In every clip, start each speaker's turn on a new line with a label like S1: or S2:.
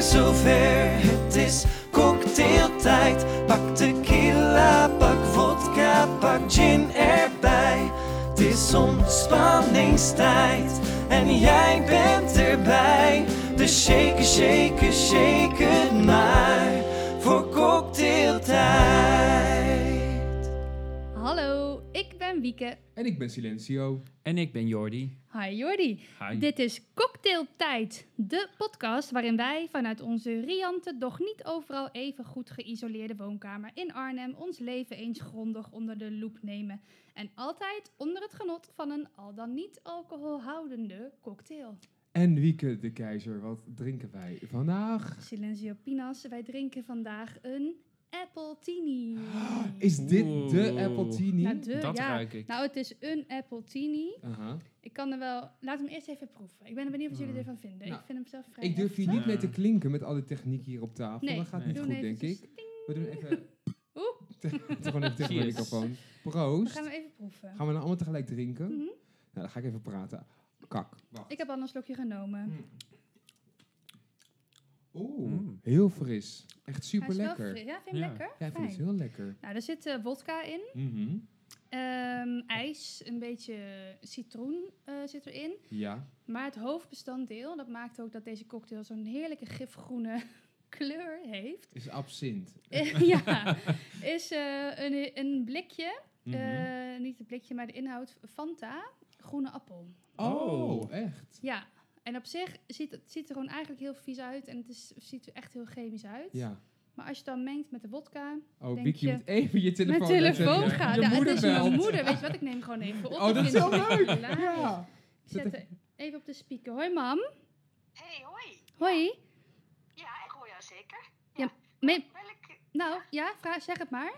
S1: zover. Het is cocktailtijd. Pak tequila, pak vodka, pak gin erbij. Het is ontspanningstijd en jij bent erbij. Dus shake, shake, shake het maar voor cocktailtijd.
S2: Hallo, ik ben Wieke.
S3: En ik ben Silencio.
S4: En ik ben Jordi.
S2: Hi Jordi.
S3: Hi.
S2: Dit is Cocktailtijd, de podcast waarin wij vanuit onze riante, doch niet overal even goed geïsoleerde woonkamer in Arnhem ons leven eens grondig onder de loep nemen. En altijd onder het genot van een al dan niet alcoholhoudende cocktail.
S3: En Wieke de Keizer, wat drinken wij vandaag?
S2: Silencio Pinas, wij drinken vandaag een appletini.
S3: Is dit de
S4: Oeh.
S3: Appletini?
S2: Nou, de, Nou
S4: Dat
S2: ja.
S4: ruik ik.
S2: Nou, het is een appletini.
S3: Aha.
S2: Ik kan er wel... Laat hem eerst even proeven. Ik ben benieuwd wat jullie
S4: Ah.
S2: ervan vinden.
S3: Nou,
S2: ik vind hem zelf vrij
S3: Ik durf hier
S2: heftig.
S3: niet
S4: Ja.
S3: mee te klinken met al die techniek hier op tafel.
S2: Nee,
S3: dat gaat
S4: Nee.
S3: niet
S2: Doen
S3: goed, denk
S2: eventjes
S3: ik.
S2: ding.
S3: We doen even...
S2: Oeh.
S3: Gewoon even tegen de
S4: Cheers.
S3: microfoon.
S2: We
S3: Proost.
S2: gaan hem even proeven.
S3: Gaan we nou allemaal tegelijk drinken?
S2: Mhm.
S3: Nou, dan ga ik even praten. Kak. Wacht.
S2: Ik heb al een slokje genomen.
S3: Mm. Oeh,
S4: Mm.
S3: heel fris. Echt
S2: Hij
S3: super
S2: is wel
S3: lekker.
S2: fris. Ja, vind je hem
S4: Ja.
S2: lekker?
S3: Ja, ik vind het
S2: Fijn.
S3: heel lekker.
S2: Nou, er zit eh, wodka in,
S3: Mhm.
S2: ehm, ijs, een beetje citroen eh, zit erin.
S3: Ja.
S2: Maar het hoofdbestanddeel, dat maakt ook dat deze cocktail zo'n heerlijke gifgroene kleur heeft.
S3: Is absint.
S2: Eh, ja, is eh, een, een blikje,
S3: Mhm.
S2: eh, niet het blikje, maar de inhoud Fanta, groene appel.
S3: oh, echt?
S2: Ja, en op zich ziet het ziet er gewoon eigenlijk heel vies uit en het is, ziet er echt heel chemisch uit.
S3: Ja.
S2: Maar als je het dan mengt met de wodka,
S3: Oh,
S2: Denk
S3: Wiki
S2: je-
S3: moet even je telefoon
S2: Mijn telefoon
S3: uitzetten.
S2: gaat.
S3: Je
S2: Ja, het
S3: moeder
S2: is
S3: belt.
S2: mijn moeder. Weet je wat? Ik neem gewoon even op.
S3: Oh, dat
S2: Ik
S3: is
S2: vind
S3: heel
S2: het
S3: leuk.
S2: hilarisch.
S3: Ja.
S2: Ik zet er even op de speaker. Hoi, mam.
S5: Hey, hoi.
S2: Hoi.
S5: Ja, ik hoor jou zeker.
S2: Me-
S5: Ben ik,
S2: nou, ja, vraag, zeg het maar.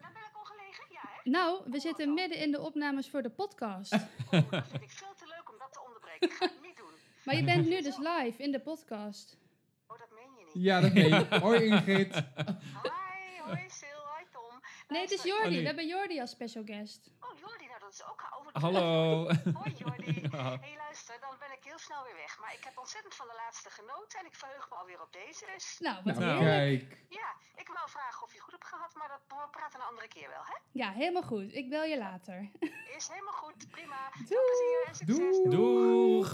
S5: nou ben ik ongelegen? Ja, hè?
S2: Nou, we zitten midden in de opnames voor de podcast.
S5: Oh, dat vind ik veel te leuk om dat te onderbreken. Ik ga het niet doen.
S2: Maar je bent nu dus live in de podcast.
S5: Oh, dat meen je niet.
S3: Ja, dat weet ik. Hoi Ingrid.
S5: Hi, hoi Sil, hoi Tom.
S2: Nee,
S3: Oh,
S2: het is
S5: Luister-
S2: Jordi.
S4: nee.
S2: We hebben Jordi als special guest.
S5: Oh, Jordi, nou dat is ook... Oh, wat
S4: Hallo.
S5: Hoi Jordi.
S4: Ja.
S5: hey, luister, dan ben ik heel snel weer weg. Maar ik heb ontzettend van de laatste genoten en ik verheug me alweer op deze. Dus
S2: Nou, wat
S3: Nou,
S4: Nou.
S2: heerlijk.
S3: kijk.
S5: ja, ik wou vragen of je het goed hebt gehad, maar dat we praten een andere keer wel, hè?
S2: Ja, helemaal goed. Ik bel je later.
S5: Is helemaal goed, prima. Veel
S2: Doei.
S5: plezier en succes.
S3: Doei.
S4: Doeg!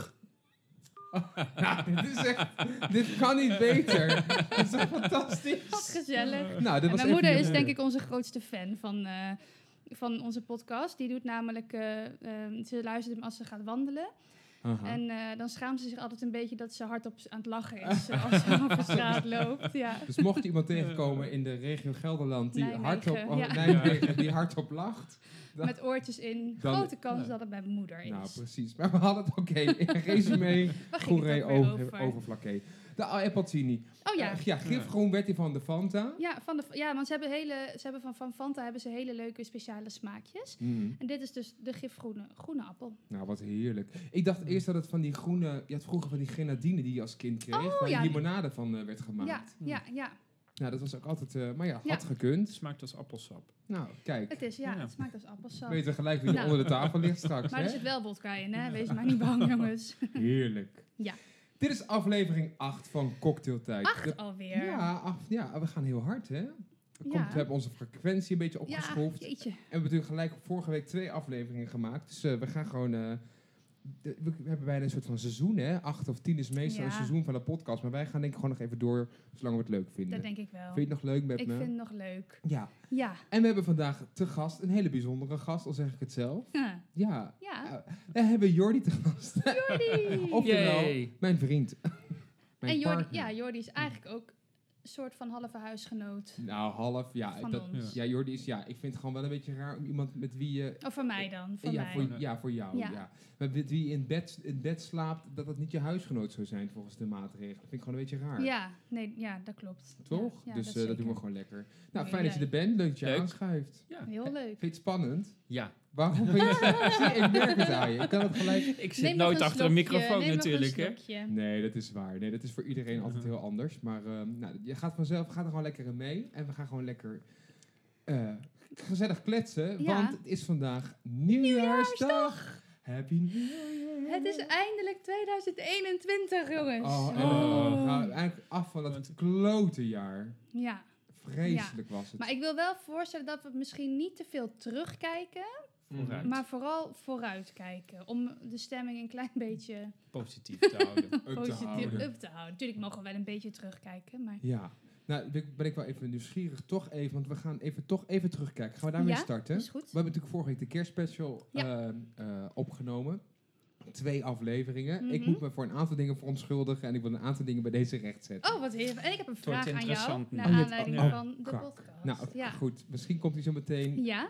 S3: Nou, dit is echt... Dit kan niet beter. Dit is toch
S2: Wat
S3: fantastisch?
S2: gezellig.
S3: Nou, dit
S2: En
S3: was
S2: mijn
S3: even
S2: moeder
S3: je
S2: is denk ik onze grootste fan van, eh, van onze podcast. Die doet namelijk, eh, eh, ze luistert hem als ze gaat wandelen.
S3: Aha.
S2: En eh, dan schaamt ze zich altijd een beetje dat ze hardop aan het lachen is eh, als ze over straat loopt. Ja.
S3: Dus mocht je iemand tegenkomen in de regio Gelderland die
S2: Nijmegen,
S3: hardop, oh,
S2: ja.
S3: Nijmegen, die hardop lacht.
S2: Met oortjes in.
S3: Dan-
S2: Grote kans
S3: ja.
S2: dat het bij mijn moeder is.
S3: Nou, precies. Maar we hadden het oké. Resume,
S2: Waar ging het
S3: goeree,
S2: ook weer
S3: over,
S2: over?
S3: overflakke. De Appletini.
S2: Oh ja.
S3: Eh, ja, gifgroen werd die van de Fanta.
S2: Ja, van de, ja, want ze hebben, hele, ze hebben van, van Fanta hebben ze hele leuke speciale smaakjes.
S3: Mhm.
S2: En dit is dus de gifgroene groene appel.
S3: Nou, wat heerlijk. Ik dacht eerst dat het van die groene... Je had vroeger van die grenadine die je als kind kreeg.
S2: Oh,
S3: waar
S2: ja.
S3: limonade van eh, werd gemaakt.
S2: Ja, ja, ja.
S3: Nou, dat was ook altijd... eh, maar ja,
S2: Ja.
S3: had gekund.
S4: Smaakt als appelsap.
S3: Nou, kijk.
S2: Het is, ja,
S4: Ja.
S2: het smaakt als appelsap.
S3: Weten we gelijk wie er
S2: Nou.
S3: onder de tafel ligt straks,
S2: Maar
S3: hè?
S2: er zit wel wodka in, hè? Wees maar niet bang, jongens.
S3: Heerlijk.
S2: Ja.
S3: Dit is aflevering 8 van Cocktailtijd.
S2: Acht
S3: De-
S2: alweer.
S3: ja, acht, ja, we gaan heel hard, hè? Komt,
S2: Ja.
S3: We hebben onze frequentie een beetje
S2: Ja,
S3: opgeschroefd. en
S2: jeetje.
S3: we hebben natuurlijk gelijk vorige week twee afleveringen gemaakt. Dus eh, we gaan gewoon... eh, de- we we hebben bijna een soort van seizoen, hè? Acht of tien is meestal
S2: Ja.
S3: een seizoen van de podcast. Maar wij gaan denk ik gewoon nog even door, zolang we het leuk vinden.
S2: Dat denk ik wel.
S3: Vind je het nog leuk met
S2: Ik
S3: me?
S2: vind het nog leuk.
S3: Ja.
S2: Ja.
S3: En we hebben vandaag te gast een hele bijzondere gast, al zeg ik het zelf.
S2: Huh.
S3: Ja.
S2: Ja.
S3: We hebben Jordi te gast.
S2: Jordi!
S3: Oftewel,
S4: Yay.
S3: mijn vriend. Mijn
S2: en Jordi,
S3: partner.
S2: ja, Jordi is eigenlijk ook een soort van halve huisgenoot
S3: Nou, half, ja.
S2: van
S3: dat,
S2: ons.
S3: ja, Jordi is, ja, ik vind het gewoon wel een beetje raar om iemand met wie je...
S2: Of van mij dan, van
S3: ja,
S2: mij.
S3: Voor, ja, voor jou, ja.
S2: Ja.
S3: Maar met wie je in bed, in bed slaapt, dat dat niet je huisgenoot zou zijn volgens de maatregelen. Dat vind ik gewoon een beetje raar.
S2: Ja, nee, ja, dat klopt.
S3: Toch?
S2: Ja, ja,
S3: dus eh, dat,
S2: zeker.
S3: doen we gewoon lekker. Nou,
S2: Heel
S3: fijn dat je er
S2: leuk.
S3: bent. Leuk dat je
S4: Leuk.
S3: aanschuift.
S2: Heel leuk.
S3: Vind je het spannend?
S4: Ja.
S3: Waarom vind je het spannend? Ik merk het aan je. Ik kan het gelijk...
S4: Ik zit
S2: Neem nog
S4: nooit achter een
S2: slokje,
S4: microfoon
S2: neem nog
S4: natuurlijk, hè?
S2: een slokje.
S3: Nee, dat is waar. Nee, dat is voor iedereen altijd
S4: Ja.
S3: heel anders. Maar ehm, nou, je gaat vanzelf, gaat er gewoon lekker in mee. En we gaan gewoon lekker eh, gezellig kletsen.
S2: Ja.
S3: Want het is vandaag nieuwjaarsdag. Happy New Year.
S2: Het is eindelijk 2021, jongens.
S3: Oh, en
S4: Oh.
S3: we gaan eigenlijk af van dat klote jaar.
S2: Ja,
S3: Vreselijk was het.
S2: maar ik wil wel voorstellen dat we misschien niet te veel terugkijken,
S4: Vooruit.
S2: maar vooral vooruitkijken. Om de stemming een klein beetje
S4: Positief te houden.
S3: Up te
S2: positief
S3: houden.
S2: up te houden. Natuurlijk mogen we wel een beetje terugkijken, maar
S3: Ja. Nou, ben ik- ben ik wel even nieuwsgierig, toch even, want we gaan even, toch even terugkijken. Gaan we daarmee
S2: Ja,
S3: starten?
S2: is goed.
S3: We hebben natuurlijk vorige week de kerstspecial
S2: Ja.
S3: eh, eh, opgenomen. Twee afleveringen. Ik
S2: Mhm.
S3: moet me voor een aantal dingen verontschuldigen en ik wil een aantal dingen bij deze recht zetten.
S2: Oh, wat heerlijk. En ik heb een vraag aan jou,
S4: interessant nu.
S2: naar
S3: Oh, dit-
S2: aanleiding
S3: oh,
S2: van de
S3: kak.
S2: podcast.
S3: nou,
S2: ja.
S3: goed. Misschien komt hij zo meteen.
S2: Ja?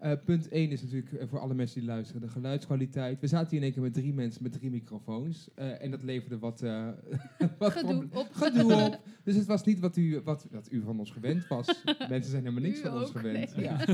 S3: Eh, punt 1 is natuurlijk eh, voor alle mensen die luisteren de geluidskwaliteit. We zaten hier in één keer met drie mensen met drie microfoons. eh, en dat leverde wat, eh, wat
S2: Gedoe
S3: proble-
S2: op.
S3: gedoe op. Dus het was niet wat u, wat, wat u van ons gewend was. mensen zijn helemaal niks
S2: U
S3: van ons
S2: ook,
S3: gewend.
S2: nee.
S3: Ja.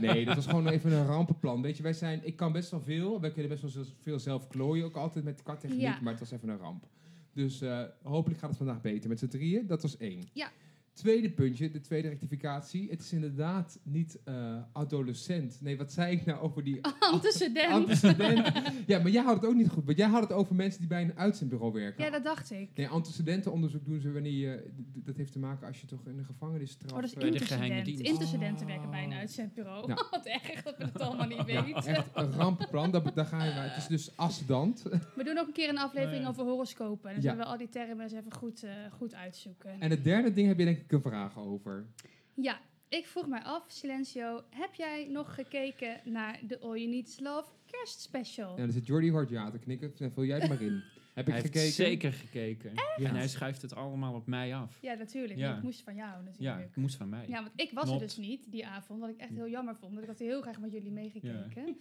S3: nee, dat was gewoon even een rampenplan. Weet je, wij zijn, ik kan best wel veel. Wij kunnen best wel z- veel zelf klooien. Ook altijd met qua techniek,
S2: Ja.
S3: maar het was even een ramp. Dus eh, hopelijk gaat het vandaag beter met z'n drieën. Dat was één.
S2: Ja.
S3: Tweede puntje, de tweede rectificatie. Het is inderdaad niet eh, adolescent. Nee, wat zei ik nou over die
S2: Oh, Antecedent.
S3: antecedenten? ja, maar jij houdt het ook niet goed. Want jij houdt het over mensen die bij een uitzendbureau werken.
S2: Ja, dat dacht ik.
S3: Nee, antecedentenonderzoek doen ze wanneer je... d- d- Dat heeft te maken als je toch in de gevangenis Eh,
S2: Oh, dat is
S4: Bij de geheime
S2: intercedent.
S4: dienst.
S2: Intercedenten werken bij een uitzendbureau.
S3: Nou.
S2: Wat erg dat we het allemaal niet
S3: Ja,
S2: weten.
S3: echt een rampenplan. Daar, daar ga je maar. Het is dus assedant.
S2: We doen ook een keer een aflevering
S4: Nee.
S2: over horoscopen. En dan
S3: Ja.
S2: zullen we al die termen eens even goed, eh, goed uitzoeken.
S3: En het derde ding heb je denk ik een vraag over.
S2: Ja, ik vroeg mij af, Silencio, heb jij nog gekeken naar de All You Need Is Love kerstspecial?
S3: En dan zit Jordi hard ja te knikken. Dan vul jij het maar in. Heb ik
S4: Hij
S3: gekeken?
S4: heeft zeker gekeken.
S3: Ja.
S4: En hij schuift het allemaal op mij af.
S2: Ja, natuurlijk.
S4: Ja.
S2: want Het moest van jou
S4: Ja,
S2: natuurlijk.
S4: het moest van mij.
S2: Ja, want ik was
S4: Not.
S2: er dus niet die avond, wat ik echt heel jammer vond. Want ik had heel graag met jullie meegekeken.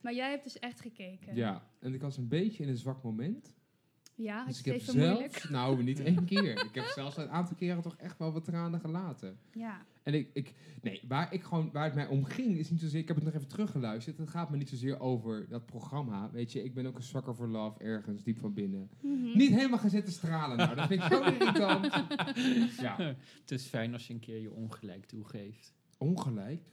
S2: Maar jij hebt dus echt gekeken.
S3: Ja, en ik was een beetje in een zwak moment.
S2: ja
S3: dus
S2: Ah, het
S3: ik
S2: is
S3: heb
S2: even
S3: zelf,
S2: moeilijk.
S3: nou niet één keer. Ik heb zelfs een aantal keren toch echt wel wat tranen gelaten.
S2: Ja.
S3: En ik, ik nee, waar, ik gewoon, waar het mij om ging is niet zozeer, ik heb het nog even teruggeluisterd. Het gaat me niet zozeer over dat programma. Weet je, ik ben ook een zwakker voor love ergens, diep van binnen.
S2: Mhm.
S3: Niet helemaal gaan zitten stralen nou, dat vind ik zo irritant. Ja,
S4: Het is fijn als je een keer je ongelijk toegeeft.
S3: Ongelijk?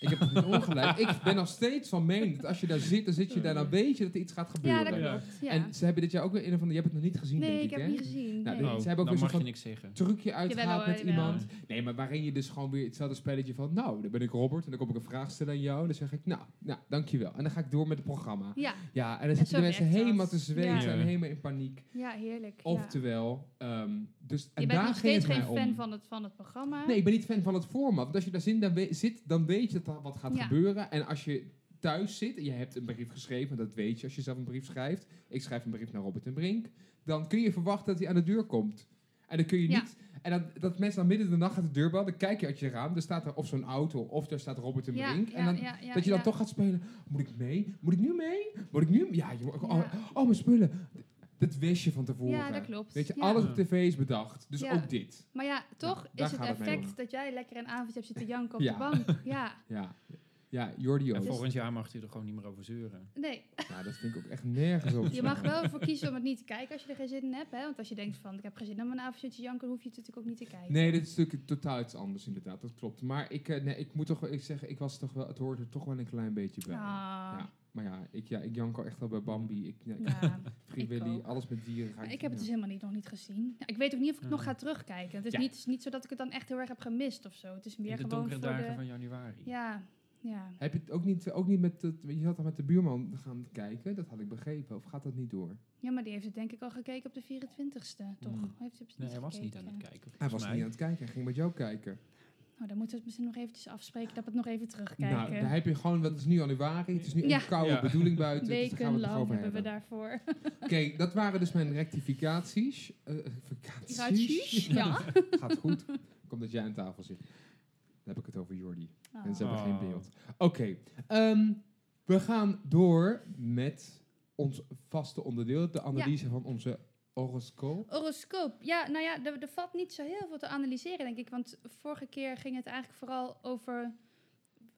S3: Ik heb het niet ongelijk. Ik ben nog steeds van mening dat als je daar zit, dan zit je daar, dan weet je dat er iets gaat
S2: Ja,
S3: gebeuren.
S2: dat
S4: Ja.
S2: klopt. Ja.
S3: En ze hebben dit jaar ook weer een of andere... Je hebt het nog niet gezien,
S2: nee,
S3: denk
S2: ik heb
S3: hè?
S2: het niet gezien.
S3: Nou,
S2: nee.
S4: Dus
S3: dit- ze hebben ook
S4: dan
S3: weer
S4: mag
S3: zo'n
S4: je
S3: van
S4: niks zeggen.
S3: trucje uitgehaald
S2: Jawel,
S3: met
S2: jawel.
S3: iemand. Nee, maar waarin je dus gewoon weer hetzelfde spelletje van... Nou, dan ben ik Robert en dan kom ik een vraag stellen aan jou. En dan zeg ik, nou, nou, dankjewel. En dan ga ik door met het programma.
S2: ja,
S3: Ja, en dan zitten de
S2: zo
S3: mensen
S2: werkt dat.
S3: helemaal te zweten
S4: Ja.
S3: en helemaal in paniek.
S2: ja, heerlijk. ja.
S3: Oftewel, ehm, dus... En
S2: je bent
S3: daar
S2: nog
S3: ging
S2: steeds
S3: het
S2: geen
S3: mij om.
S2: fan van het, van het programma.
S3: Nee, ik ben niet fan van het format. Want als je daar zin, dan we- zit, dan weet je dat er wat gaat
S2: Ja.
S3: gebeuren. En als je thuis zit en je hebt een brief geschreven, dat weet je als je zelf een brief schrijft. Ik schrijf een brief naar Robert en Brink. Dan kun je verwachten dat hij aan de deur komt. En dan kun je
S2: Ja.
S3: niet. En dat, dat mensen dan midden in de nacht aan de deur bellen, dan kijk je uit je raam. Er staat er of zo'n auto of daar staat Robert en
S2: ja,
S3: Brink.
S2: ja,
S3: en dan,
S2: ja, ja,
S3: dat je dan
S2: ja.
S3: toch gaat spelen. Moet ik mee? Moet ik nu mee? Moet ik nu? Ja, je, oh,
S2: Ja.
S3: oh, mijn spullen. Dat wist je van tevoren.
S2: Ja, dat klopt.
S3: Weet je,
S2: Ja.
S3: alles op tv is bedacht. Dus
S2: Ja.
S3: ook dit.
S2: Maar ja, toch
S3: daar
S2: is het
S3: gaat het mee
S2: effect
S3: om.
S2: dat jij lekker een avondje hebt zitten janken op
S3: Ja.
S2: de bank. Ja,
S3: Ja, ja Jordi
S4: En
S3: ook.
S4: volgend jaar mag hij er gewoon niet meer over zeuren.
S2: nee.
S3: Ja, dat vind ik ook echt nergens op.
S2: Je mag wel voor kiezen om het niet te kijken als je er geen zin in hebt. Hè? Want als je denkt van, ik heb geen zin om een avondje te janken, hoef je het natuurlijk ook niet te kijken.
S3: Nee, dit is natuurlijk totaal iets anders inderdaad, dat klopt. Maar ik, eh, nee, ik moet toch wel ik zeggen, ik was toch wel, het hoort er toch wel een klein beetje bij.
S2: Ah,
S3: Ja. Maar ja, ik, ja, ik jank al echt wel bij Bambi. Ik, ja, ik-
S2: ja.
S3: Free
S2: ik
S3: Willy,
S2: ook.
S3: alles met dieren. Ga
S2: Maar ik heb het dus
S3: ja. Mm.
S2: helemaal niet, nog niet gezien. Ja, ik weet ook niet of ik het nog
S4: Ah.
S2: ga terugkijken. Het is,
S3: Ja.
S2: niet, het is niet zo dat ik het dan echt heel erg heb gemist of zo. Het is meer
S4: In de
S2: gewoon
S4: donkere
S2: voor
S4: dagen
S2: de...
S4: van januari.
S2: Ja, ja.
S3: Heb je het ook niet, eh, ook niet met, het, je had al met de buurman gaan kijken, dat had ik begrepen. Of gaat dat niet door?
S2: ja, maar die heeft het denk ik al gekeken op de 24ste, toch?
S4: Hmm.
S2: Heeft hij op
S4: Nee, hij was niet aan het kijken.
S3: Hij
S4: volgens
S3: was
S4: mij.
S3: niet aan het kijken, hij ging met jou kijken.
S2: Nou, dan moeten we het misschien nog eventjes afspreken dat we het nog even
S3: Nou,
S2: terugkijken.
S3: daar heb je gewoon, want het is nu januari, het is nu
S2: Ja.
S3: een koude
S4: Ja.
S3: bedoeling buiten. dus daar gaan we het
S2: Wekenlang
S3: toch over
S2: hebben,
S3: hebben.
S2: we daarvoor.
S3: Oké, dat waren dus mijn rectificaties. Eh,
S2: Ratjes?
S3: rectificaties.
S2: Ja.
S3: Gaat goed. Komt dat jij aan tafel zit. Dan heb ik het over Jordi.
S2: Ah.
S3: En ze hebben
S4: Oh.
S3: geen beeld. Oké, ehm, we gaan door met ons vaste onderdeel, de analyse van onze horoscoop.
S2: Horoscoop. Ja, nou ja, er, er valt niet zo heel veel te analyseren, denk ik. Want vorige keer ging het eigenlijk vooral over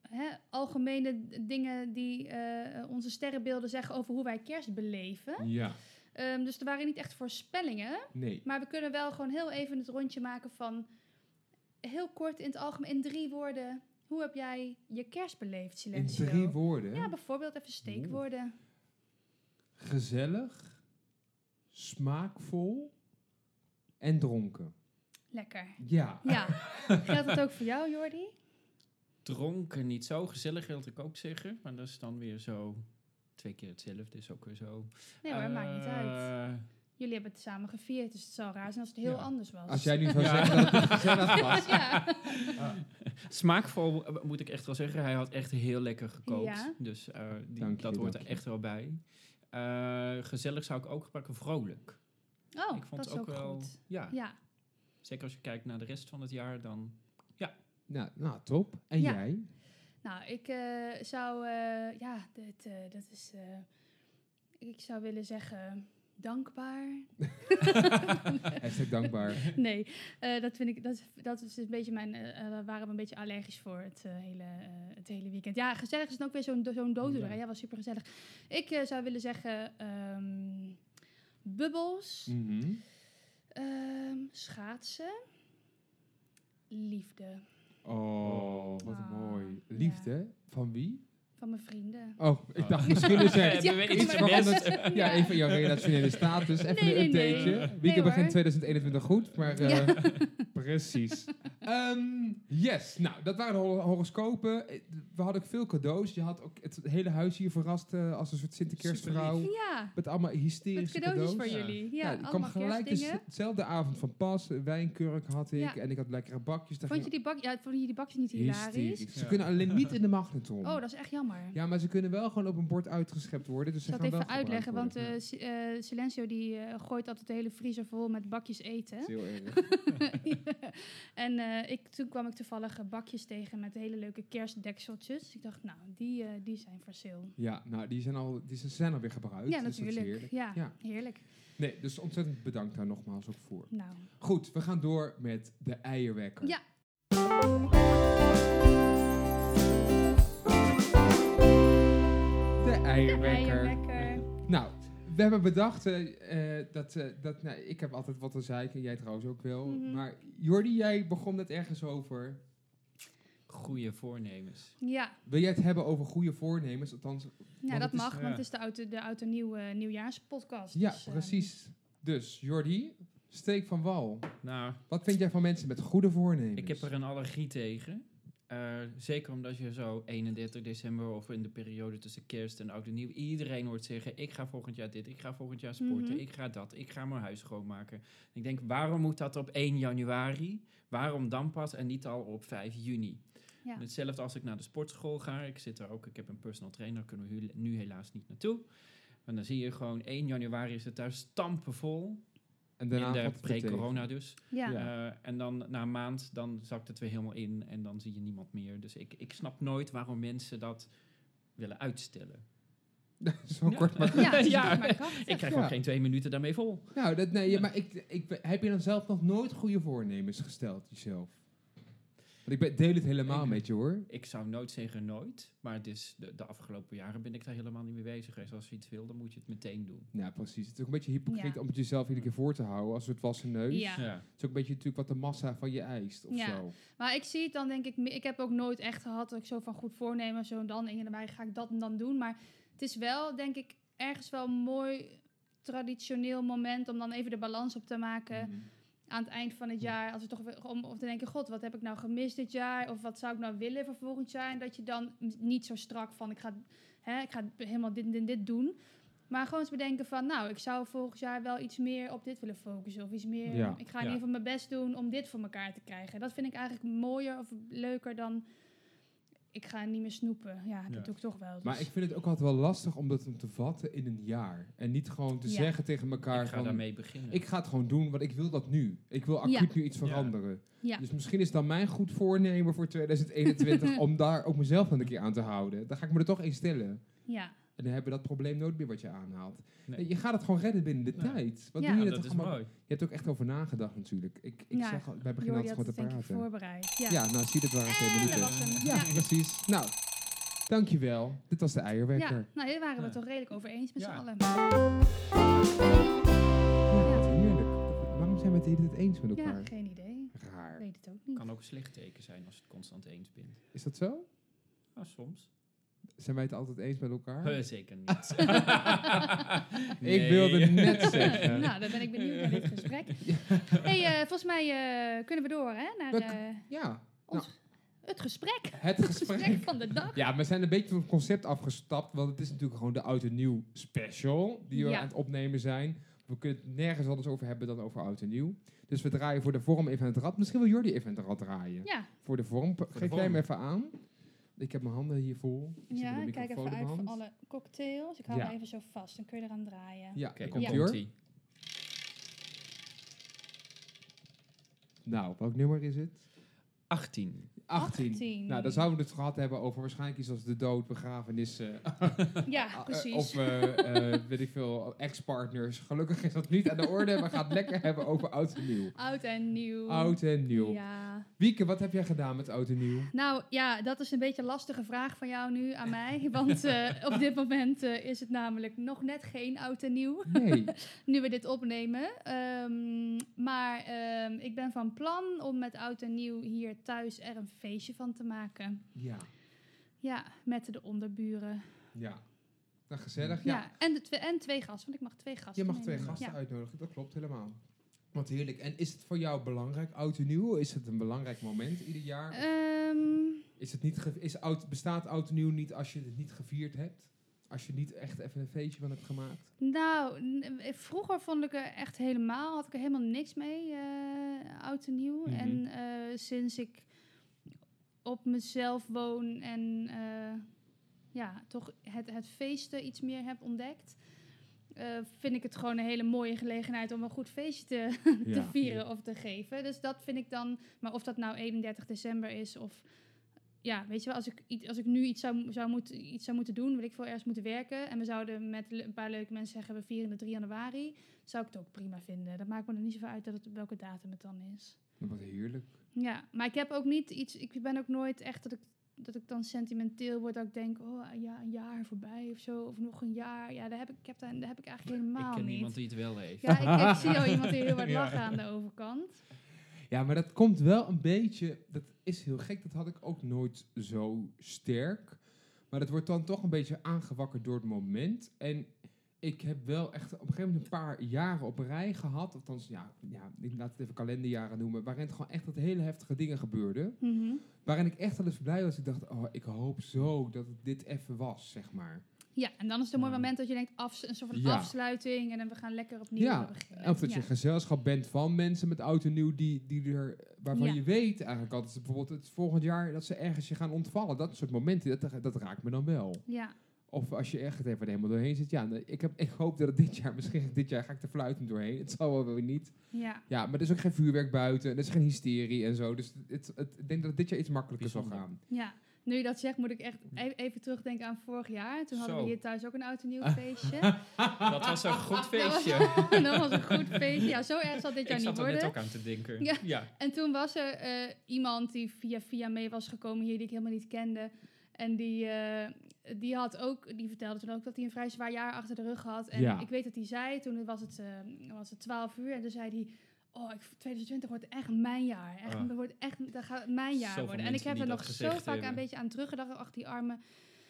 S2: hè, algemene d- dingen die eh, onze sterrenbeelden zeggen over hoe wij kerst beleven.
S3: Ja.
S2: Ehm, dus er waren niet echt voorspellingen.
S3: Nee.
S2: Maar we kunnen wel gewoon heel even het rondje maken van heel kort in het algemeen, in drie woorden. Hoe heb jij je kerst beleefd,
S3: In
S2: Silencio?
S3: drie woorden.
S2: Ja, bijvoorbeeld even steekwoorden.
S3: gezellig, smaakvol en dronken.
S2: Lekker.
S3: Ja.
S2: Ja. Geldt dat ook voor jou, Jordi?
S4: Dronken niet zo. Gezellig wilde ik ook zeggen. Maar dat is dan weer zo... Twee keer hetzelfde is ook weer zo.
S2: Nee hoor,
S4: Eh,
S2: maakt niet uit. Jullie hebben het samen gevierd, dus het zou raar zijn als het heel
S3: Ja.
S2: anders was.
S3: Als jij nu zou
S4: Ja.
S3: zeggen dat het gezellig was.
S2: ja.
S4: Smaakvol eh, moet ik echt wel zeggen. Hij had echt heel lekker gekookt.
S2: Ja.
S4: Dus eh, die-
S3: Dank je,
S4: dat hoort
S3: dank
S4: er
S3: je.
S4: echt wel bij. Eh, gezellig zou ik ook gebruiken. Vrolijk.
S2: Oh,
S4: ik vond
S2: dat is
S4: het
S2: ook
S4: ook, wel.
S2: goed.
S4: Ja,
S2: Ja.
S4: zeker als je kijkt naar de rest van het jaar, dan
S3: Nou, nou, top. En
S2: Ja.
S3: jij?
S2: Nou, ik eh, zou... eh, ja, dit, eh, dat is... eh, ik zou willen zeggen... Dankbaar.
S3: Hashtag dankbaar.
S2: Nee, eh, dat vind ik. Dat, is- dat is een beetje mijn. eh, eh, we waren we een beetje allergisch voor het, eh, hele, eh, het hele weekend. Ja, gezellig is het ook weer zo'n do- zo'n dooddoener.
S4: Ja.
S2: hè? Ja, was super gezellig. Ik eh, zou willen zeggen. ehm, bubbels,
S3: Mhm.
S2: ehm, schaatsen, liefde
S3: Oh, wat
S2: Ah,
S3: mooi. Liefde? Van wie?
S2: van mijn vrienden.
S3: Oh, ik
S4: Oh.
S3: dacht misschien is
S4: Ja,
S3: er
S4: we weten
S3: iets
S4: niet wat
S3: veranderd.
S4: het-
S3: Ja, even jouw relationele status. Even
S2: Nee,
S3: een
S2: nee, nee.
S3: updateje.
S2: Nee,
S3: Weekend
S2: hoor.
S3: begint 2021 goed, maar... eh,
S2: Ja.
S3: Precies. Ehm, yes, nou, dat waren de hor- horoscopen. Eh, We hadden ook veel cadeaus. Je had ook het hele huis hier verrast eh, als een soort Sinterkeersvrouw.
S2: Ja,
S3: Met allemaal
S2: met
S3: hysterische
S2: cadeautjes
S3: cadeaus.
S2: voor
S4: Ja.
S2: jullie. Ja,
S3: ik kwam
S2: allemaal
S3: gelijk
S2: kerstdingen.
S3: dezelfde avond van pas. Een Wijnkurk had ik
S2: Ja.
S3: en ik had lekkere bakjes. Daar
S2: Vond je
S3: ging-
S2: die bak? Ja, vond je die bakjes niet hilarisch?
S3: Ze
S4: Ja.
S3: kunnen alleen niet in de magnetron.
S2: Oh, dat is echt jammer.
S3: Ja, maar ze kunnen wel gewoon op een bord uitgeschept worden. Dus
S2: Ik zal
S3: ze gaan
S2: het
S3: wel
S2: even
S3: gebruikt
S2: uitleggen, want
S3: worden.
S2: eh, Si- eh, Silencio die eh, gooit altijd de hele vriezer vol met bakjes eten.
S3: Dat is heel erg.
S2: en eh, ik, toen kwam ik toevallig eh, bakjes tegen met hele leuke kerstdekseltjes. Dus ik dacht, nou, die, eh, die zijn voor sale.
S3: Ja, nou, die zijn, al, die zijn- zijn alweer gebruikt.
S2: ja,
S3: dus dat is
S2: natuurlijk.
S3: heerlijk.
S2: Ja,
S3: Ja.
S2: heerlijk.
S3: Nee, dus ontzettend bedankt daar nogmaals ook voor.
S2: Nou,
S3: Goed, we gaan door met de eierwekker.
S2: ja.
S3: De eierwekker.
S2: Eierwekker.
S3: Nou, we hebben bedacht eh, eh, dat, eh, dat nou, ik heb altijd wat te zeiken, jij trouwens ook wel.
S2: Mhm.
S3: Maar Jordi, jij begon net ergens over.
S4: goede voornemens.
S2: Ja,
S3: Wil jij het hebben over goede voornemens? Althans,
S2: nou,
S3: Want
S2: dat
S3: het is- eh,
S2: mag, want
S4: ja.
S2: het is de auto, de auto nieuw, eh, nieuwjaarspodcast.
S3: ja,
S2: dus, eh,
S3: precies. Dus Jordi, steek van wal.
S4: Nou,
S3: Wat vind jij van mensen met goede voornemens?
S4: ik heb
S2: Dus.
S4: er een allergie tegen. Eh, zeker omdat je zo 31 december of in de periode tussen kerst en oud en nieuw iedereen hoort zeggen: Ik ga volgend jaar dit, ik ga volgend jaar sporten,
S2: Mhm.
S4: ik ga dat, ik ga mijn huis schoonmaken. En ik denk: waarom moet dat op 1 januari? Waarom dan pas en niet al op 5 juni?
S2: Ja.
S4: Hetzelfde als ik naar de sportschool ga. Ik zit daar ook, ik heb een personal trainer, kunnen we hu- nu helaas niet naartoe. En dan zie je gewoon 1 januari is het daar stampenvol.
S3: en
S4: In
S3: daarna
S4: de
S3: valt het weer
S4: pre-corona dus.
S2: Ja.
S3: Ja.
S4: Eh, en dan na een maand, dan zakt het weer helemaal in en dan zie je niemand meer. Dus ik, ik snap nooit waarom mensen dat willen uitstellen.
S3: tegen. Zo
S4: Ja.
S3: kort maar
S2: Ja, dus dat is
S4: Ja.
S2: toch maar krachtig.
S4: Ik krijg
S3: Ja.
S4: ook geen twee minuten daarmee vol.
S3: Nou, dat, nee, ja, maar ik, ik, heb je dan zelf nog nooit goede voornemens gesteld jezelf? Want ik ben, deel het helemaal
S4: Ik-
S3: met je hoor.
S4: Ik zou nooit zeggen nooit, maar het is de, de afgelopen jaren ben ik daar helemaal niet mee bezig geweest. Als je iets wil, dan moet je het meteen doen.
S3: Ja, precies. Het is ook een beetje hypocriet
S2: Ja.
S3: om het jezelf iedere keer voor te houden als het was een neus.
S2: Ja.
S3: Het is ook een beetje natuurlijk wat de massa van je eist of
S2: Ja.
S3: zo.
S2: Maar ik zie het dan denk ik, me- ik heb ook nooit echt gehad dat ik zo van goed voornemen, zo en dan en daarbij ga ik dat en dan doen. Maar het is wel denk ik ergens wel een mooi traditioneel moment om dan even de balans op te maken
S3: Mhm.
S2: aan het eind van het jaar. Als we toch weer, om, om te denken, god, wat heb ik nou gemist dit jaar? Of wat zou ik nou willen voor volgend jaar? En dat je dan m- niet zo strak van, ik ga, hè, ik ga helemaal dit en dit, en dit doen. Maar gewoon eens bedenken van, nou, ik zou volgend jaar wel iets meer op dit willen focussen. Of iets meer,
S3: Ja.
S2: ik ga in ieder
S4: Ja.
S2: geval mijn best doen om dit voor elkaar te krijgen. Dat vind ik eigenlijk mooier of leuker dan, ik ga niet meer snoepen. Ja, dat
S4: Ja.
S2: doe ik toch wel.
S3: Maar
S2: dus-
S3: ik vind het ook altijd wel lastig om dat om te vatten in een jaar. En niet gewoon te
S2: Ja.
S3: zeggen tegen elkaar
S4: Ik ga
S3: van,
S4: daarmee beginnen.
S3: ik ga het gewoon doen, want ik wil dat nu. Ik wil acuut nu iets
S4: Ja.
S3: veranderen.
S2: Ja.
S3: Dus misschien is dan mijn goed voornemen voor 2021 om daar ook mezelf nog een keer aan te houden. Dan ga ik me er toch in stellen.
S2: ja.
S3: En dan hebben we dat probleem nooit meer wat je aanhaalt.
S4: Nee.
S3: Je gaat het gewoon redden binnen de
S4: Ja.
S3: tijd. Wat
S2: Ja.
S3: doe
S4: Nou,
S3: je
S4: dat
S3: dat
S4: is
S3: allemaal?
S4: mooi.
S3: Je hebt ook echt over nagedacht natuurlijk. Ik, ik
S2: Ja,
S3: zeg al, wij beginnen
S2: Jordi
S3: altijd
S2: had
S3: gewoon
S2: het
S3: te
S2: denk ik
S3: praten.
S2: voorbereid. Ja.
S3: Ja, nou zie je, dat waren twee
S2: En dat
S3: minuten.
S2: was hem.
S3: Ja,
S2: Ja.
S3: precies. Nou, dankjewel. Dit was de eierwekker.
S2: Ja, nou, hier waren we
S4: Ja.
S2: toch redelijk over eens met
S4: Ja.
S2: z'n allen.
S3: Ja, wat heerlijk. Waarom zijn we het de hele tijd eens met elkaar?
S2: Ja, geen idee. Ik
S3: Raar.
S2: weet het ook niet.
S4: Kan ook een slecht teken zijn als je het constant eens bent.
S3: Is dat zo?
S4: Nou, soms.
S3: Zijn wij het altijd eens met elkaar?
S4: Huh, zeker niet.
S3: Ik wilde net zeggen.
S2: nou, dan ben ik benieuwd naar dit gesprek. hey, eh, volgens mij eh, kunnen we door hè, naar
S3: Dat-
S2: eh,
S3: Ja,
S2: het gesprek.
S3: het
S2: Het gesprek
S3: gesprek.
S2: van de dag.
S3: Ja, we zijn een beetje van het concept afgestapt, want het is natuurlijk gewoon de oud en nieuw special die we
S2: Ja.
S3: aan het opnemen zijn. We kunnen het nergens anders over hebben dan over oud en nieuw. Dus we draaien voor de vorm even aan het rad. Misschien wil Jordi even aan het rad draaien.
S2: Ja,
S3: Voor de vorm, geef
S4: vorm.
S3: jij hem even aan. Ik heb mijn handen hier vol. Ik zit
S2: ja,
S3: met een
S2: ik kijk
S3: microfoon
S2: even
S3: in mijn
S2: uit voor
S3: hand.
S2: alle cocktails. Ik hou
S3: Ja.
S2: hem even zo vast, dan kun je eraan draaien.
S3: Ja,
S4: Oké,
S3: daar
S4: dan
S3: komt
S2: Ja.
S3: Jor.
S4: ie.
S3: Nou, welk nummer is het?
S4: 18.
S3: 18.
S2: 18.
S3: Nou, dan zouden we het gehad hebben over waarschijnlijk iets als de dood, begrafenissen. eh,
S2: Ja, precies.
S3: Ah, Of, eh, eh, weet ik veel, ex-partners. Gelukkig is dat niet aan de orde. We gaan het lekker hebben over oud en nieuw.
S2: Oud en nieuw.
S3: Oud en nieuw.
S2: Ja.
S3: Wieke, wat heb jij gedaan met oud en nieuw?
S2: Nou ja, dat is een beetje een lastige vraag van jou nu aan mij. Want eh, op dit moment eh, is het namelijk nog net geen oud en nieuw.
S3: Nee.
S2: Nu we dit opnemen. Ehm, maar ehm, ik ben van plan om met oud en nieuw hier thuis er een feestje van te maken.
S3: ja.
S2: Ja, met de onderburen.
S3: Ja. Nou, gezellig.
S2: Ja,
S3: Ja.
S2: en, de twe- en twee gasten, want ik mag twee gasten
S3: Je mag twee
S2: meenemen.
S3: gasten
S2: Ja.
S3: uitnodigen. Dat klopt helemaal. Wat heerlijk. En is het voor jou belangrijk, oud en nieuw? Is het een belangrijk moment ieder jaar?
S2: Ehm,
S3: Is het niet ge- is oud, bestaat oud en nieuw niet als je het niet gevierd hebt? Als je niet echt even een feestje van hebt gemaakt?
S2: nou, n- eh, vroeger vond ik er echt helemaal, had ik er helemaal niks mee, eh, oud en nieuw.
S4: Mhm.
S2: En eh, sinds ik op mezelf woon en eh, ja, toch het, het feesten iets meer heb ontdekt, eh, vind ik het gewoon een hele mooie gelegenheid om een goed feestje te, te vieren of te geven. Dus dat vind ik dan. Maar of dat nou 31 december is of. Ja, weet je wel, als ik, iets- als ik nu iets zou, zou moeten, iets zou moeten doen, wil ik voor eerst moeten werken. En we zouden met le- een paar leuke mensen zeggen, we vieren de 3 januari. Zou ik het ook prima vinden. Dat maakt me er niet zoveel uit dat het, welke datum het dan is.
S3: Wat heerlijk.
S2: Ja, maar ik heb ook niet iets... Ik ben ook nooit echt dat ik, dat ik dan sentimenteel word. Dat ik denk, oh ja, een jaar voorbij of zo. Of nog een jaar. Ja, daar heb ik, ik, heb daar, daar heb ik eigenlijk helemaal
S4: ik ken
S2: niet.
S4: niemand die het wel heeft.
S2: Ja, ik, ik zie al iemand die heel hard
S3: Ja.
S2: lachen aan de overkant.
S3: Ja, maar dat komt wel een beetje. Dat is heel gek. Dat had ik ook nooit zo sterk. Maar dat wordt dan toch een beetje aangewakkerd door het moment. En ik heb wel echt op een gegeven moment een paar jaren op rij gehad. Althans, ja, ja ik laat het even kalenderjaren noemen. Waarin het gewoon echt dat hele heftige dingen gebeurden.
S2: Mhm.
S3: Waarin ik echt wel eens blij was. Ik dacht, oh, ik hoop zo dat het dit even was, zeg maar.
S2: Ja, en dan is het een mooi
S4: Ja.
S2: moment dat je denkt, af, een soort van
S3: Ja.
S2: afsluiting en dan we gaan lekker opnieuw
S3: Ja,
S2: beginnen.
S3: En Of dat
S2: Ja.
S3: je gezelschap bent van mensen met oud en nieuw die, die er, waarvan
S2: Ja.
S3: je weet eigenlijk altijd ze bijvoorbeeld het volgend jaar dat ze ergens je gaan ontvallen. Dat soort momenten, dat, dat raakt me dan wel.
S2: Ja,
S3: Of als je echt even er helemaal doorheen zit. Ja, nee, ik, heb, ik hoop dat het dit jaar, misschien dit jaar ga ik er fluitend doorheen. Het zal wel weer niet.
S2: ja.
S3: Ja, maar er is ook geen vuurwerk buiten. Er is geen hysterie en zo. Dus het, het- ik denk dat het dit jaar iets makkelijker zal
S4: Bijzonder.
S3: gaan.
S2: ja. Nu je dat zegt, moet ik echt e- even terugdenken aan vorig jaar. Toen hadden we
S4: Zo.
S2: hier thuis ook een oud en nieuw feestje.
S4: Dat was een goed feestje.
S2: Dat was, dat was een goed feestje. Ja, zo erg zal dit jaar
S4: Ik
S2: niet
S4: zat er net
S2: worden.
S4: ook aan te denken.
S2: Ja.
S4: Ja.
S2: En toen was er eh, iemand die via via mee was gekomen hier, die ik helemaal niet kende. En die, eh, die, had ook, die vertelde toen ook dat hij een vrij zwaar jaar achter de rug had. En
S3: Ja.
S2: ik weet dat hij zei, toen was het, eh, was het 12 uur, en toen zei hij... Oh, ik, 2020 wordt echt mijn jaar. Echt,
S4: Ah.
S2: dat wordt echt, dat gaat mijn jaar
S4: Zoveel
S2: worden. En ik
S4: mensen
S2: heb
S4: die
S2: er
S4: dat
S2: nog zo
S4: gezegd
S2: vaak een
S4: hebben.
S2: beetje aan teruggedacht. Ach, die arme,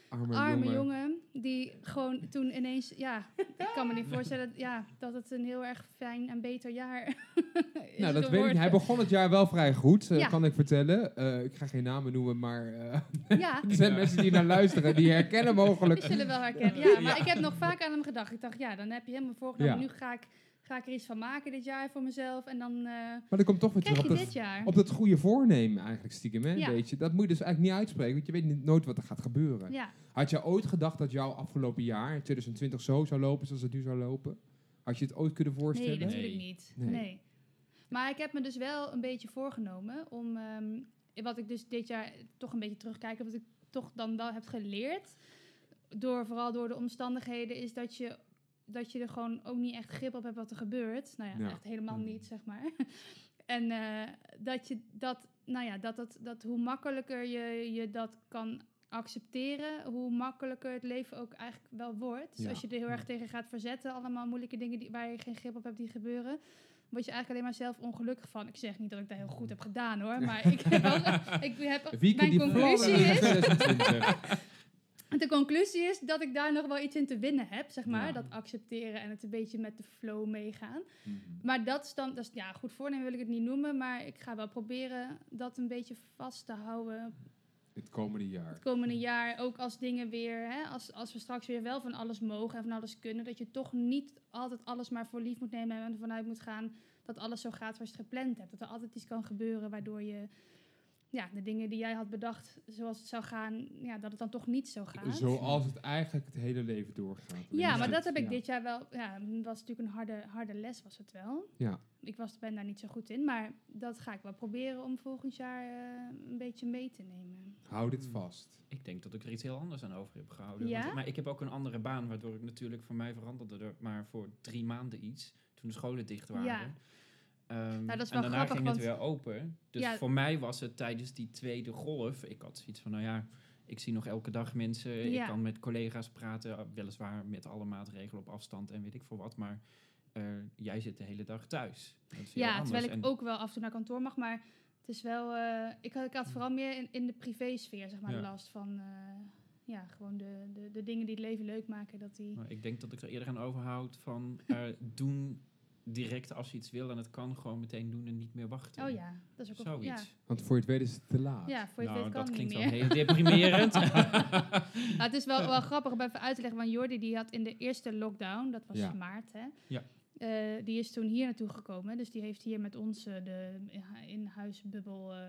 S3: Arme,
S2: arme
S3: jongen.
S2: jongen. Die gewoon toen ineens... Ja, ik kan me niet voorstellen ja, dat het een heel erg fijn en beter jaar is
S3: Nou, dat weet ik.
S2: geworden.
S3: niet. Hij begon het jaar wel vrij goed, eh,
S2: Ja.
S3: kan ik vertellen. Eh, ik ga geen namen noemen, maar eh,
S2: Ja,
S3: er zijn
S4: Ja.
S3: mensen die naar luisteren die herkennen mogelijk
S2: We zullen wel herkennen. Ja, maar ik heb nog vaak aan hem gedacht. Ik dacht, ja, dan heb je helemaal voorgenomen.
S3: Ja.
S2: Nu ga ik, ga ik er iets van maken dit jaar voor mezelf. En dan eh,
S3: Maar dat komt toch weer terug
S2: krijg
S3: op
S2: je dit
S3: dat,
S2: jaar.
S3: op dat goede voornemen eigenlijk stiekem, hè?
S2: Ja.
S3: Weet je? Dat moet je dus eigenlijk niet uitspreken, want je weet niet, nooit wat er gaat gebeuren.
S2: Ja.
S3: Had jij ooit gedacht dat jouw afgelopen jaar, 2020, zo zou lopen zoals het nu zou lopen? Had je het ooit kunnen
S2: Nee,
S3: voorstellen?
S4: dat-
S2: natuurlijk
S4: Nee.
S2: niet.
S3: Nee.
S2: Nee. Maar ik heb me dus wel een beetje voorgenomen om... ehm, wat ik dus dit jaar toch een beetje terugkijk... Wat ik toch dan wel heb geleerd... Door, vooral door de omstandigheden... Is dat je, dat je er gewoon ook niet echt grip op hebt wat er gebeurt. Nou ja,
S3: Ja.
S2: echt helemaal
S4: Mm.
S2: niet, zeg maar. en eh, dat je dat... Nou ja, dat, dat, dat hoe makkelijker je, je dat kan accepteren, hoe makkelijker het leven ook eigenlijk wel wordt. Dus
S3: Ja.
S2: als je er heel erg tegen gaat verzetten, allemaal moeilijke dingen die, waar je geen grip op hebt die gebeuren, word je eigenlijk alleen maar zelf ongelukkig van. Ik zeg niet dat ik dat heel goed heb gedaan hoor, maar ik heb, wel- ik heb
S3: Wieke,
S2: mijn
S3: die
S2: conclusie
S3: plannen
S2: is,
S3: 2026.
S2: De conclusie is dat ik daar nog wel iets in te winnen heb, zeg maar.
S4: Ja.
S2: Dat accepteren en het een beetje met de flow meegaan.
S3: Mhm.
S2: Maar dat is dan, dat is, ja, goed voornemen wil ik het niet noemen, maar ik ga wel proberen dat een beetje vast te houden
S3: Het komende jaar.
S2: het komende jaar. Ook als dingen weer, hè, als, als we straks weer wel van alles mogen en van alles kunnen, dat je toch niet altijd alles maar voor lief moet nemen en ervan uit moet gaan dat alles zo gaat zoals je het gepland hebt. Dat er altijd iets kan gebeuren waardoor je ja, de dingen die jij had bedacht, zoals het zou gaan, ja, dat het dan toch niet zo gaat.
S3: Zoals het eigenlijk het hele leven doorgaat.
S2: Ja, maar
S4: Ja.
S2: dat heb ik
S3: Ja.
S2: dit jaar wel. Ja, het was natuurlijk een harde, harde les, was het wel.
S3: Ja.
S2: Ik was, ben daar niet zo goed in, maar dat ga ik wel proberen om volgend jaar eh, een beetje mee te nemen.
S3: Hou dit vast.
S4: Ik denk dat ik er iets heel anders aan over heb gehouden.
S2: Ja?
S4: Want- maar ik heb ook een andere baan, waardoor ik natuurlijk voor mij veranderde er maar voor drie maanden iets. Toen de scholen dicht waren.
S2: Ja. Nou,
S4: Ehm,
S2: dat is wel
S4: en daarna
S2: grappig,
S4: ging het
S2: want-
S4: weer open. Dus
S2: Ja.
S4: voor mij was het tijdens die tweede golf. Ik had zoiets van, nou ja, ik zie nog elke dag mensen.
S2: Ja.
S4: Ik kan met collega's praten. eh, Weliswaar met alle maatregelen op afstand en weet ik veel wat. Maar eh, jij zit de hele dag thuis. Dat is heel
S2: Ja,
S4: anders.
S2: terwijl ik
S4: En-
S2: ook wel af en toe naar kantoor mag, maar het is wel. eh, ik, had, ik had vooral meer in, in de privésfeer, zeg maar,
S4: Hm. Ja.
S2: last van. eh, ja, gewoon de, de, de dingen die het leven leuk maken, dat die.
S4: Maar ik denk dat ik er eerder aan overhoud van eh, doen direct als je iets wil en het kan gewoon meteen doen en niet meer wachten.
S2: Oh ja, dat is ook wel- Ja.
S4: Zoiets.
S3: Want voor je het weet is het te laat.
S2: Ja, voor je het
S4: nou,
S2: weet kan
S4: dat
S2: het niet
S4: klinkt
S2: meer.
S4: wel heel deprimerend.
S2: Nou, het is wel, wel grappig om even uit te leggen, want Jordi die had in de eerste lockdown, dat was
S3: Ja.
S2: maart, hè?
S4: Ja.
S2: eh, die is toen hier naartoe gekomen, dus die heeft hier met ons eh, de in-huisbubbel eh,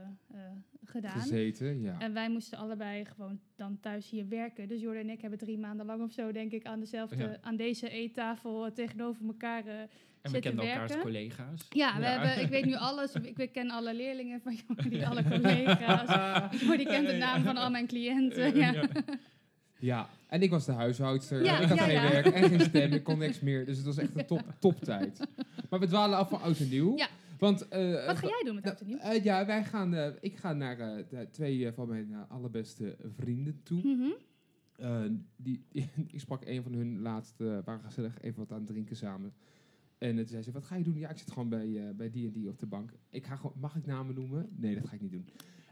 S2: eh, gedaan.
S3: Gezeten, ja.
S2: En wij moesten allebei gewoon dan thuis hier werken. Dus Jordi en ik hebben drie maanden lang of zo, denk ik, aan, dezelfde,
S4: Ja.
S2: aan deze eettafel eh, tegenover elkaar eh,
S4: en we
S2: Zitten
S4: kennen
S2: werken.
S4: elkaars collega's.
S2: ja, we Hebben, ik weet nu alles. Ik, ik ken alle leerlingen van Jordi, alle collega's. Jordi kent de naam van al mijn cliënten. Ja.
S3: Ja, en ik was de huishoudster.
S2: Ja,
S3: ik had
S2: ja,
S3: geen
S2: ja.
S3: werk en geen stem, ik kon niks meer. Dus het was echt een top, top tijd. Maar we dwalen af van oud en nieuw.
S2: Ja.
S3: Want, eh,
S2: Wat ga jij doen met oud en nieuw?
S3: nou, eh, ja, wij gaan, eh, ik ga naar eh, de twee eh, van mijn eh, allerbeste vrienden toe.
S2: Mhm.
S3: Eh, die, die- ik sprak een van hun laatst, eh, waren gezellig even wat aan het drinken samen. En toen zei ze, wat ga je doen? Ja, ik zit gewoon bij, eh, bij die en die op de bank. Ik ga gewoon, mag ik namen noemen? Nee, dat ga ik niet doen.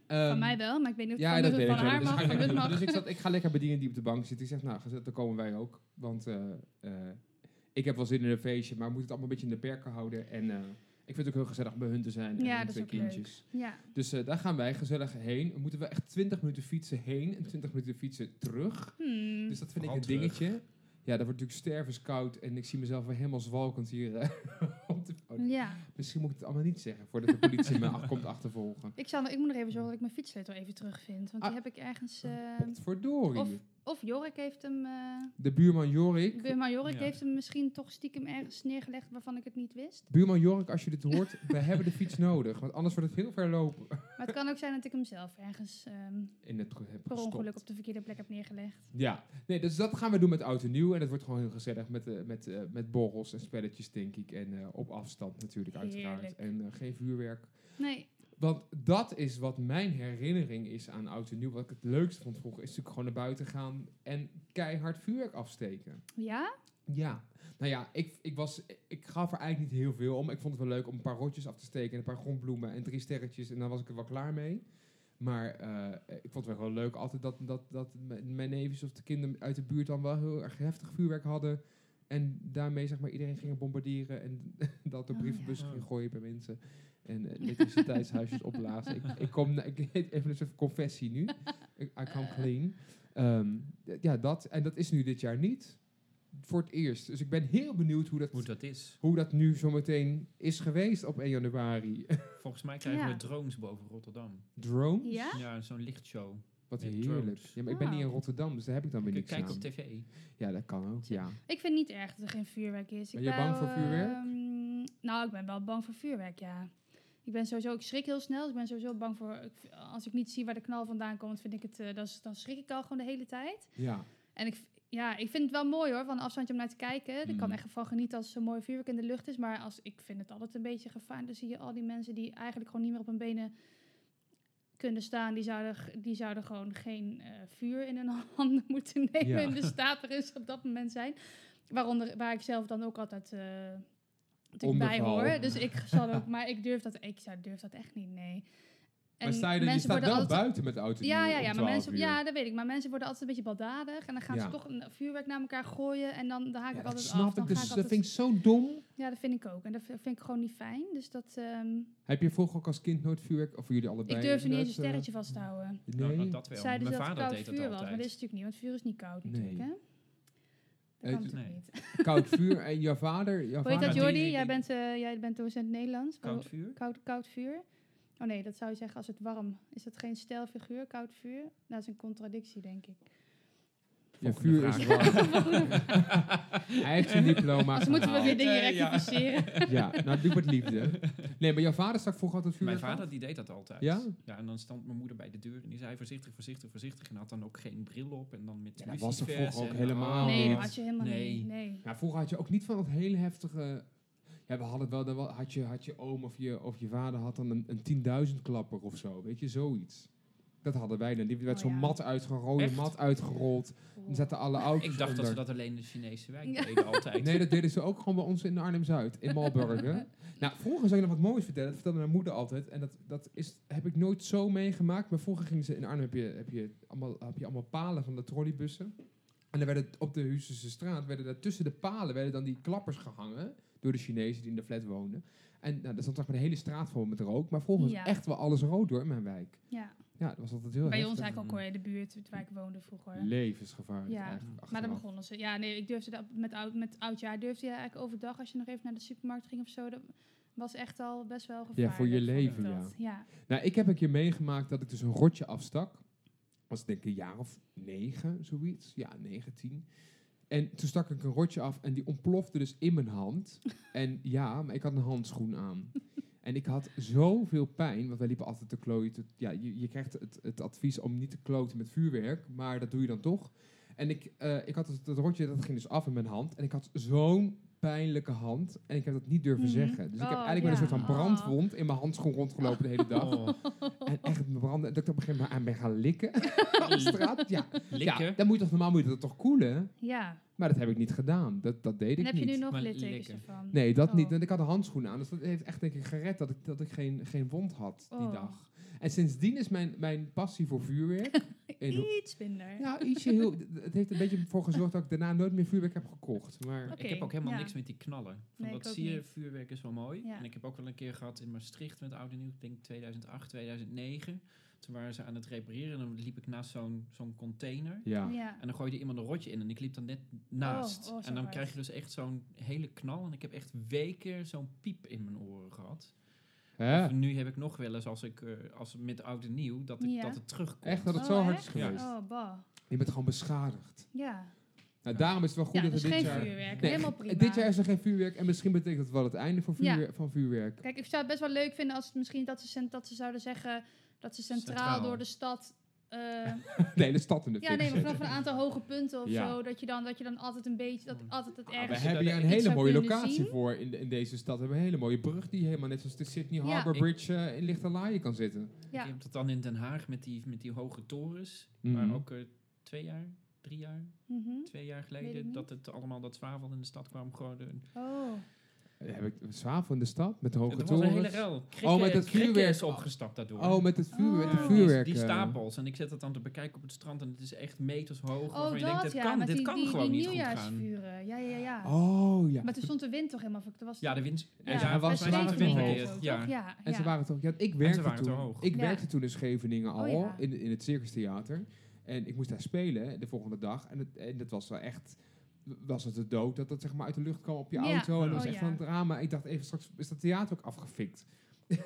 S2: Van
S3: Ehm,
S2: mij wel, maar ik weet niet of het
S3: ja,
S2: van,
S3: dat
S2: de-
S3: weet ik
S2: van
S3: wel.
S2: haar
S3: Dus,
S2: mag.
S3: ga ik,
S2: Van
S3: lekker
S2: hun
S3: doen.
S2: mag.
S3: dus ik, zat, ik ga lekker bij die en die op de bank zitten. Ik zeg, nou, gezet, dan komen wij ook. Want eh, eh, ik heb wel zin in een feestje, maar we moeten het allemaal een beetje in de perken houden. En eh, ik vind het ook heel gezellig om bij hun te zijn en
S2: Ja,
S3: hun
S2: dat is
S3: twee
S2: ook leuk.
S3: kindjes.
S2: Ja,
S3: Dus eh, daar gaan wij gezellig heen. We moeten wel echt 20 minuten fietsen heen en 20 minuten fietsen terug.
S2: hmm.
S3: Dus dat vind
S4: Vooral
S3: ik een dingetje. Ja, dat wordt natuurlijk stervenskoud en ik zie mezelf weer helemaal zwalkend hier. eh, op de- oh,
S2: ja.
S3: misschien moet ik het allemaal niet zeggen voordat de politie me ach- komt achtervolgen.
S2: Ik, zal, ik moet nog even zorgen dat ik mijn fietssleutel even terugvind. Want
S3: Ah.
S2: die heb ik ergens... eh,
S3: Potverdorie.
S2: of, of Jorik heeft hem... eh
S3: De buurman Jorik.
S2: buurman Jorik
S4: Ja.
S2: heeft hem misschien toch stiekem ergens neergelegd waarvan ik het niet wist.
S3: Buurman Jorik, als je dit hoort, we hebben de fiets nodig. Want anders wordt het heel ver lopen.
S2: Maar het kan ook zijn dat ik hem zelf ergens ehm,
S3: In het heb
S2: per
S3: gestopt.
S2: ongeluk op de verkeerde plek heb neergelegd.
S3: Ja, nee, dus dat gaan we doen met Oud en Nieuw. En dat wordt gewoon heel gezellig met, eh, met, eh, met borrels en spelletjes, denk ik. En eh, op afstand natuurlijk, uiteraard.
S2: Heerlijk.
S3: En eh, geen vuurwerk.
S2: Nee,
S3: Want dat is wat mijn herinnering is aan Oud en Nieuw. Wat ik het leukste vond vroeger, is natuurlijk gewoon naar buiten gaan en keihard vuurwerk afsteken.
S2: ja?
S3: Ja, nou ja, ik, ik, was, ik gaf er eigenlijk niet heel veel om. Ik vond het wel leuk om een paar rotjes af te steken en een paar grondbloemen en drie sterretjes. En dan was ik er wel klaar mee. Maar eh, ik vond het wel leuk altijd dat, dat, dat m- mijn neefjes of de kinderen uit de buurt dan wel heel erg heftig vuurwerk hadden. En daarmee zeg maar iedereen ging bombarderen en dat de
S2: Oh,
S3: brievenbussen
S4: ja.
S3: ging gooien bij mensen. En eh, elektriciteitshuisjes opblazen. Ik, ik kom, na- ik, even een soort confessie nu. I I come
S2: Eh.
S3: clean. Ehm, d- ja, dat, en dat is nu dit jaar niet. Voor het eerst. Dus ik ben heel benieuwd hoe
S4: Hoe
S3: dat,
S4: dat is.
S3: hoe dat nu zometeen is geweest op 1 januari.
S4: Volgens mij krijgen
S2: Ja.
S4: we drones boven Rotterdam.
S3: Drone?
S2: Ja?
S4: Ja, zo'n lichtshow.
S3: Wat
S4: Ja,
S3: heerlijk.
S4: drones.
S3: Ja, maar ik ben niet in
S2: Wauw.
S3: Rotterdam, dus daar heb ik dan weer niks
S4: Kijk
S3: aan.
S4: op tv. Nou,
S3: Ja, dat kan ook, ja.
S2: Ik vind het niet erg dat er geen vuurwerk is.
S3: Ben
S2: ik
S3: je bang voor vuurwerk?
S2: ehm, nou, ik ben wel bang voor vuurwerk, ja. Ik ben sowieso, ik schrik heel snel. dus ik ben sowieso bang voor, ik- als ik niet zie waar de knal vandaan komt, vind ik het, eh, dan, dan schrik ik al gewoon de hele tijd.
S3: Ja,
S2: En ik, v- ja, ik vind het wel mooi hoor, van een afstandje om naar te kijken. Ik kan
S3: Hmm.
S4: Mhm.
S2: echt van genieten als er zo'n mooi vuurwerk in de lucht is. Maar als, ik vind het altijd een beetje gevaarlijk. Dan zie je al die mensen die eigenlijk gewoon niet meer op hun benen kunnen staan. Die zouden, g- die zouden gewoon geen eh, vuur in hun handen moeten nemen.
S3: Ja.
S2: In de staat er is op dat moment zijn. Waaronder, waar ik zelf dan ook altijd... eh natuurlijk bij
S3: Onderval.
S2: hoor. Dus ik zal ook, maar ik durf dat, ik zou, durf dat echt niet, nee.
S3: maar sta je, er- je
S2: mensen
S3: staat
S2: worden
S3: wel
S2: altijd-
S3: buiten met de auto.
S2: Ja, ja, ja, maar mensen,
S3: ja,
S2: ja, dat weet ik. Maar mensen worden altijd een beetje baldadig. En dan gaan
S3: Ja.
S2: ze toch een vuurwerk naar elkaar gooien. En dan, dan haak ik
S3: dat
S2: altijd
S3: snap
S2: af. Dan
S3: ik.
S2: ga
S3: Dus dat
S2: altijd-
S3: vind ik zo dom.
S2: Ja, dat vind ik ook. En dat vind vind ik gewoon niet fijn. Dus dat... ehm,
S3: Heb je vroeger ook als kind nooit vuurwerk? Of jullie allebei?
S2: ik durfde niet eens een
S3: inderdaad, eh,
S2: sterretje vast te houden.
S4: Nou,
S3: Nee.
S4: nou, dat wel.
S2: Zeiden
S4: Mijn
S2: ze dat het
S4: vader
S2: koud
S4: deed dat
S2: vuur was. Maar dat
S4: altijd.
S2: is natuurlijk niet. Want vuur is niet koud
S3: Nee.
S2: natuurlijk, hè? Dat
S3: Eh,
S2: kan
S3: dus-
S2: natuurlijk
S4: Nee.
S2: niet.
S3: Koud vuur en jouw vader. Jouw
S2: Hoe heet dat,
S3: vader
S4: die-
S2: Jordi?
S4: die-
S2: Jij
S4: die-
S2: bent, eh, jij bent docent Nederlands.
S4: Koud vuur?
S2: Koud, koud vuur. Oh nee, dat zou je zeggen als het warm. Is dat geen stijlfiguur, koud vuur? Nou, Dat is een contradictie, denk ik.
S3: Ja,
S4: Volgende
S3: vuur is
S4: vraag.
S3: warm. Hij heeft zijn diploma.
S2: Anders Dus moeten we
S3: gehaald.
S2: weer dingen
S4: Eh, ja.
S2: rectificeren.
S3: Ja, nou, doe wat liefde. Nee, maar jouw vader stak vroeger altijd vuurwerk
S4: Mijn vader
S3: af?
S4: die deed dat altijd.
S3: Ja?
S4: en dan stond mijn moeder bij de deur en die zei voorzichtig, voorzichtig, voorzichtig. En had dan ook geen bril op en dan met
S3: Ja, dat was er vroeger
S4: lucifers
S3: ook
S4: en-
S3: helemaal
S2: Oh, Nee, dat
S3: niet.
S2: had je helemaal
S4: Nee.
S2: niet. Nee.
S3: Ja, vroeger had je ook niet van dat hele heftige... Ja, we hadden het wel, dan wel- had je, had je oom of je, of je vader had dan een, een 10.000 klapper of zo, weet je, zoiets. Dat hadden wij dan. Die werd
S2: Oh,
S3: zo'n
S2: ja.
S3: mat uitgerolde
S4: Echt?
S3: mat uitgerold. Dan zaten alle auto's
S4: Ik dacht dat ze
S3: onder.
S4: dat alleen in de Chinese wijk
S2: Ja.
S4: deden altijd.
S3: Nee, dat deden ze ook gewoon bij ons in Arnhem-Zuid, in Malburgen. nou, vroeger zou ik nog wat moois vertellen. Dat vertelde mijn moeder altijd. En dat, dat is, heb ik nooit zo meegemaakt. Maar vroeger gingen ze in Arnhem, heb je, heb je, allemaal, heb je allemaal palen van de trolleybussen. En dan werden op de Huizense straat, werden daar tussen de palen, werden dan die klappers gehangen. Door de Chinezen die in de flat woonden. En nou, daar stond toch maar de hele straat vol met rook. Maar vroeger was
S2: Ja.
S3: echt wel alles rood door in mijn wijk.
S2: Ja.
S3: Ja, dat was altijd heel
S2: Bij ons
S3: heftig.
S2: eigenlijk ook hoor, in de buurt waar ik woonde vroeger.
S3: Levensgevaarlijk
S2: Ja,
S3: eigenlijk.
S2: Maar dan
S3: achteraf.
S2: begonnen ze. Ja, nee, ik durfde dat met oud, met oudjaar durfde je eigenlijk overdag als je nog even naar de supermarkt ging of zo. Dat was echt al best wel gevaarlijk.
S3: voor je
S2: vond ik
S3: leven,
S2: dat. ja.
S3: Nou, ik heb een keer meegemaakt dat ik dus een rotje afstak. Was denk ik een jaar of negen, zoiets. Ja, negen, tien. En toen stak ik een rotje af en die ontplofte dus in mijn hand. En ja, maar ik had een handschoen aan. En ik had zoveel pijn, want wij liepen altijd te klooien. te- ja, je, je krijgt het, het advies om niet te kloten met vuurwerk, maar dat doe je dan toch. En ik, eh, ik had dat, dat rotje, dat ging dus af in mijn hand. En ik had zo'n pijnlijke hand. En ik heb dat niet durven
S2: Mhm.
S3: zeggen. Dus ik heb
S2: Oh,
S3: eigenlijk met een
S2: ja.
S3: soort van brandwond in mijn handschoen rondgelopen de hele dag.
S4: Oh,
S3: En echt me branden. En dat ik op een gegeven moment aan ben gaan likken. op straat. Ja.
S4: likken.
S3: ja, dan moet je toch normaal moet je dat toch koelen?
S2: ja.
S3: Maar dat heb ik niet gedaan. Dat, dat deed ik
S2: En heb
S3: niet.
S2: je nu nog
S4: Maar
S2: littekens
S4: lekker.
S2: ervan?
S3: Nee, dat
S2: Oh.
S3: niet. En ik had een handschoen aan. Dus dat heeft echt denk ik gered dat ik, dat ik geen, geen wond had die
S2: Oh.
S3: dag. En sindsdien is mijn, mijn passie voor vuurwerk... in,
S2: Iets minder.
S3: ja, ietsje heel... Het heeft een beetje ervoor gezorgd dat ik daarna nooit meer vuurwerk heb gekocht. Maar
S2: Oké,
S4: Ik heb ook helemaal
S2: ja.
S4: niks met die knallen. Van
S2: Nee, ik
S4: dat
S2: ook
S4: zie je,
S2: niet.
S4: vuurwerk is wel mooi.
S2: Ja.
S4: En ik heb ook wel een keer gehad in Maastricht met Oud en Nieuw, ik denk 2008, 2009. Toen waren ze aan het repareren en dan liep ik naast zo'n zo'n container.
S3: ja.
S2: Ja.
S4: En dan gooide iemand een rotje in en ik liep dan net naast.
S2: oh, zo
S4: en dan
S2: hard.
S4: krijg je dus echt zo'n hele knal. En ik heb echt weken zo'n piep in mijn oren gehad.
S3: Hè?
S4: Of nu heb ik nog wel eens, als ik eh, als met Oud en Nieuw, dat, ik,
S2: Ja.
S4: dat het terugkomt.
S3: Echt dat het
S2: Oh,
S3: zo hard
S2: echt?
S3: is geweest.
S2: Oh, bah.
S3: Je bent gewoon beschadigd.
S2: Ja.
S3: Nou, daarom is het wel goed
S2: Ja,
S3: dat
S2: dus
S3: er dit
S2: geen
S3: jaar...
S2: vuurwerk.
S3: Nee,
S2: Helemaal prima.
S3: En Dit jaar is er geen vuurwerk en misschien betekent dat wel het einde van
S2: Ja.
S3: vuurwerk. Van vuurwerk.
S2: Kijk, ik zou het best wel leuk vinden als het misschien dat ze, cent- dat ze zouden zeggen dat ze centraal,
S4: Centraal.
S2: door de stad. eh,
S3: De hele stad in de
S2: ja,
S3: fik
S2: nee, maar
S3: zetten.
S2: vanaf een aantal hoge punten of
S3: Ja. Ah,
S2: zo. Dat je dan, dat je dan altijd een beetje, dat altijd het
S4: maar
S3: We
S2: ergste.
S3: hebben hier een
S2: iets
S3: hele
S2: zou
S3: mooie
S2: kunnen
S3: locatie
S2: zien.
S3: voor in, de- in deze stad. We hebben een hele mooie brug die helemaal net zoals de Sydney
S2: Ja.
S3: Harbour
S4: Ik-
S3: Bridge eh, in Lichterlaaien kan zitten.
S2: Ja.
S4: Je hebt dat dan in Den Haag met die, met die hoge torens.
S3: Mhm.
S4: Maar ook eh, twee jaar, drie jaar,
S2: Mhm.
S4: twee jaar
S2: ik niet.
S4: geleden dat het allemaal dat zwavel in de stad kwam. Gewoon de,
S2: Oh.
S3: Eh, Heb ik zwavel in de stad met de hoge
S4: het was een
S3: torens.
S4: hele rel. Krikken,
S3: Oh, met dat
S4: krikken
S3: vuurwerk.
S4: is opgestapt daardoor.
S3: Oh, met het
S2: Oh.
S3: vuurwerk. met
S4: Ja,
S3: het
S4: die-
S3: vuurwerk
S4: Die,
S3: eh.
S4: stapels. En ik zet dat dan te bekijken op het strand en het is echt meters hoog.
S2: Oh,
S4: waarvan
S2: dat
S4: je denkt, dit
S2: ja,
S4: kan,
S2: met
S4: dit
S2: die,
S4: kan
S2: die, die
S4: gewoon niet goed gaan.
S2: nieuwjaarsvuren. Ja, ja, ja.
S3: Oh ja.
S2: Maar toen stond de wind toch helemaal... ver- Er was
S4: Ja, de wind.
S3: En ze- hij was-
S2: best
S3: ze waren
S2: stevig
S3: te
S2: wind
S3: hoog.
S2: ook, toch?
S4: Ja.
S2: ja.
S3: En ze
S2: ja.
S3: waren toch... Ja, ik werkte,
S4: waren te
S3: toen,
S4: hoog.
S3: Ik
S2: Ja.
S3: werkte toen in Scheveningen al,
S2: Oh, ja.
S3: in, in het Circus Theater. En ik moest daar spelen de volgende dag. En, het, en dat was wel echt... Was het de dood dat dat zeg maar uit de lucht kwam op je
S2: Ja.
S3: auto? En dat was
S2: Oh,
S3: echt
S2: ja.
S3: van een drama. Ik dacht even, straks is dat theater ook afgefikt.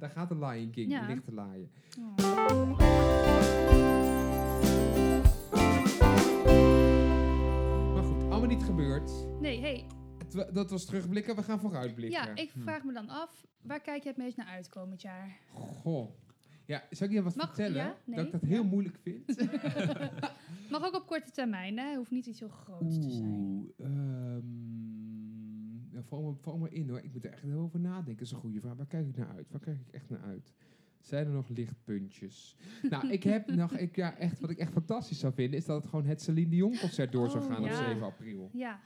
S3: daar gaat de Lion King,
S2: Ja.
S3: die ligt te laaien.
S2: Oh.
S3: Maar goed, allemaal niet gebeurd.
S2: Nee, hey,
S3: Het wa- dat was terugblikken, we gaan vooruitblikken.
S2: ja, ik vraag me dan af, waar kijk je het meest naar uit komend jaar?
S3: Goh. Ja, zou ik je wat
S2: Mag-
S3: vertellen?
S2: ja?
S3: Dat
S2: Nee?
S3: ik dat heel
S2: Ja.
S3: moeilijk vind.
S2: Mag ook op korte termijn, hè? Hoeft niet iets heel groots te zijn.
S3: Oeh, ehm, ja, val, me, val me in hoor. Ik moet er echt heel over nadenken. Dat is een goede vraag. Waar kijk ik naar uit? Waar kijk ik echt naar uit? Zijn er nog lichtpuntjes? nou, ik heb nog, ik, ja, echt, wat ik echt fantastisch zou vinden, is dat het gewoon het Celine Dion concert door zou
S2: Oh,
S3: gaan op
S2: ja.
S3: 7 april.
S2: Ja,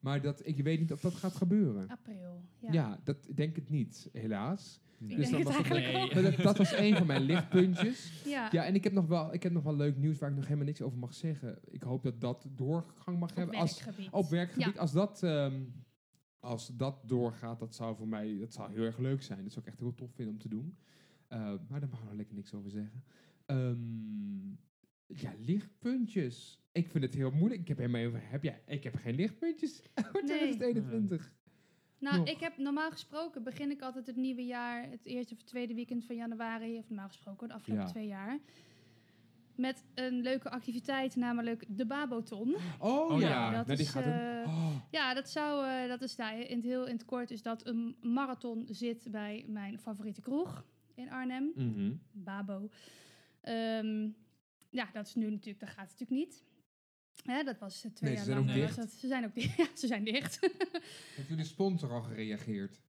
S3: Maar dat, ik weet niet of dat gaat gebeuren.
S2: April. Oh, Ja.
S3: Ja, dat denk ik niet, helaas.
S4: Mm.
S2: Ik
S3: Dus
S2: denk
S3: dan
S2: het
S3: was het
S2: eigenlijk
S4: nee.
S2: ook.
S3: Maar dat, dat was een van mijn lichtpuntjes.
S2: Ja.
S3: Ja, en ik heb, nog wel, ik heb nog wel leuk nieuws waar ik nog helemaal niks over mag zeggen. Ik hoop dat dat doorgang mag
S2: op
S3: hebben. Als,
S2: werkgebied.
S3: op werkgebied, als, dat, ehm, als dat doorgaat, dat zou voor mij dat zou heel erg leuk zijn. Dat zou ik echt heel tof vinden om te doen. Eh, maar daar mag ik nog lekker niks over zeggen. Ehm, ja, lichtpuntjes. Ik vind het heel moeilijk. Ik heb, helemaal, even- heb, jij, ik heb geen lichtpuntjes voor 2021.
S2: Nou,
S3: Nog.
S2: ik heb normaal gesproken begin ik altijd het nieuwe jaar, het eerste of tweede weekend van januari, of normaal gesproken de afgelopen
S3: Ja.
S2: twee jaar, met een leuke activiteit, namelijk de Baboton.
S3: Oh,
S4: Oh
S3: ja,
S4: ja,
S2: dat
S3: Nou, die
S2: is,
S3: gaat hem-
S2: eh,
S3: Oh,
S2: Ja, dat zou, eh, dat is daar in het heel in het kort is dat een marathon zit bij mijn favoriete kroeg in Arnhem,
S3: mhm.
S2: Babo. Ehm, ja, dat is nu natuurlijk, dat gaat natuurlijk niet. Hè, dat was eh, twee
S3: Nee,
S2: jaar
S3: ze zijn
S2: lang.
S3: ook
S2: was
S3: dicht.
S2: dat- ze zijn ook dicht. Ja, ze zijn dicht.
S3: Heeft jullie sponsor al gereageerd?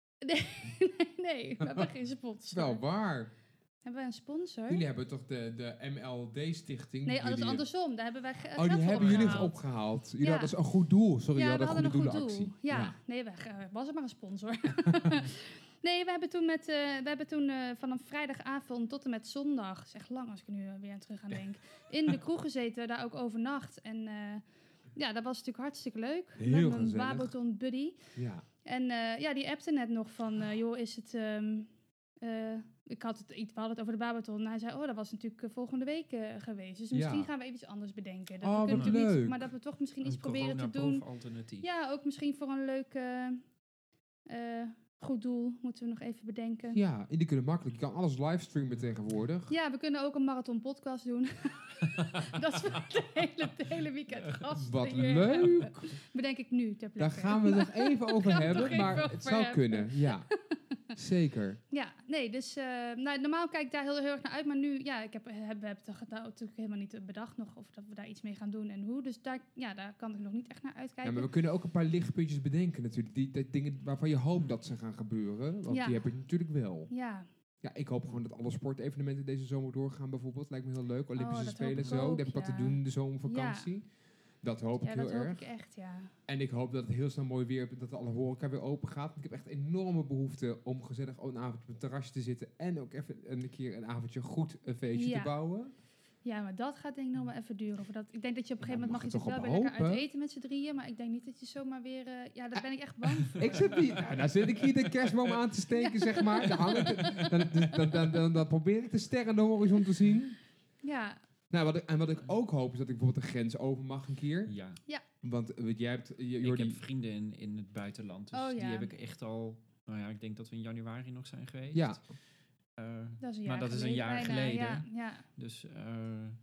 S2: nee, we hebben geen sponsor.
S3: Dat is wel waar.
S2: Hebben we een sponsor?
S3: Jullie hebben toch de, de MLD-stichting?
S2: Nee, dat is
S3: jullie-
S2: andersom. Daar hebben wij ge-
S3: Oh,
S2: geld
S3: die
S2: voor
S3: hebben jullie het
S2: opgehaald.
S3: opgehaald. Jullie
S2: Ja.
S3: hadden dus een goed doel. Sorry,
S2: ja,
S3: jullie hadden een goede doelactie.
S2: Ja, nee, we, eh, was het maar een sponsor. nee, we hebben toen, met, eh, we hebben toen eh, van een vrijdagavond tot en met zondag, is echt lang als ik er nu eh, weer aan terug aan denk, in de kroeg gezeten, daar ook overnacht. En eh, ja, dat was natuurlijk hartstikke leuk.
S3: Heel
S2: met mijn
S3: gezellig.
S2: Baboton buddy.
S3: Ja.
S2: En eh, ja, die appte net nog van, eh, joh, is het... ehm, eh, ik had het, iets- we hadden het over de Babaton. En hij zei, oh, dat was natuurlijk eh, volgende week eh, geweest. Dus
S3: Ja.
S2: misschien gaan we even iets anders bedenken. Dat
S3: Oh,
S2: we
S3: wat
S2: kunnen natuurlijk
S3: leuk.
S2: Niet, maar dat we toch misschien iets
S4: Een
S2: proberen te
S4: coronaproof
S2: doen.
S4: alternatief.
S2: Ja, ook misschien voor een leuk eh, eh, goed doel moeten we nog even bedenken. Ja.
S3: ja, en die kunnen makkelijk. Je kan alles livestreamen tegenwoordig.
S2: we kunnen ook een marathon podcast doen. dat is voor het hele, het hele weekend gasten
S3: Wat
S2: hier.
S3: leuk!
S2: Bedenk ik nu ter
S3: Daar
S2: plekke.
S3: gaan we het nog even over
S2: gaan we
S3: hebben,
S2: toch even
S3: maar
S2: over
S3: het zou
S2: hebben.
S3: kunnen. Ja, zeker.
S2: Ja, nee, dus eh, nou, normaal kijk ik daar heel, heel erg naar uit. Maar nu, ja, ik heb, eh, heb, we hebben het nou natuurlijk helemaal niet bedacht nog of dat we daar iets mee gaan doen en hoe. Dus daar, ja, daar kan ik nog niet echt naar
S3: Ja,
S2: uitkijken.
S3: maar we kunnen ook een paar lichtpuntjes bedenken natuurlijk. Die, die dingen waarvan je hoopt dat ze gaan gebeuren. Want
S2: Ja.
S3: die heb ik natuurlijk wel.
S2: Ja,
S3: Ja, ik hoop gewoon dat alle sportevenementen deze zomer doorgaan bijvoorbeeld. Lijkt me heel leuk.
S2: Oh, dat
S3: Olympische
S2: hoop
S3: Spelen
S2: ik
S3: zo.
S2: ook,
S3: Daar heb ik wat
S2: ja.
S3: te doen in de zomervakantie. Dat hoop ik
S2: ja
S3: heel
S2: dat
S3: erg.
S2: hoop ik echt, ja.
S3: En ik hoop dat het heel snel mooi weer dat alle horeca weer open gaat. Want ik heb echt enorme behoefte om gezellig een avond op een terrasje te zitten. En ook even een keer een avondje goed een feestje
S2: Ja.
S3: te bouwen.
S2: Ja, maar dat gaat denk ik nog wel even duren. Of dat, ik denk dat je op een
S3: Ja,
S2: gegeven moment mag je
S3: mag je
S2: toch wel
S3: toch
S2: weer
S3: op
S2: lekker uit
S3: hopen?
S2: eten met z'n drieën. Maar ik denk niet dat je zomaar weer... eh, ja, daar ben ik echt bang voor.
S3: Ik zit hier, nou, dan zit ik hier de kerstboom aan te steken, zeg maar. Dan, hang ik de- dan, dan, dan, dan, dan probeer ik de sterren aan de horizon te zien.
S2: Ja,
S3: Nou, wat ik, en wat ik ook hoop is dat ik bijvoorbeeld de grens over mag een keer.
S4: Ja.
S3: Want eh, jij hebt, eh,
S4: Ik
S3: Jordi,
S4: heb vrienden in, in het buitenland. Dus
S2: Oh, ja.
S4: die heb ik echt al... Nou ja, ik denk dat we in januari nog zijn geweest.
S3: ja,
S4: Eh,
S2: dat is een jaar
S4: Maar dat is een jaar
S2: bijna,
S4: geleden.
S2: Ja, ja.
S4: Dus, eh,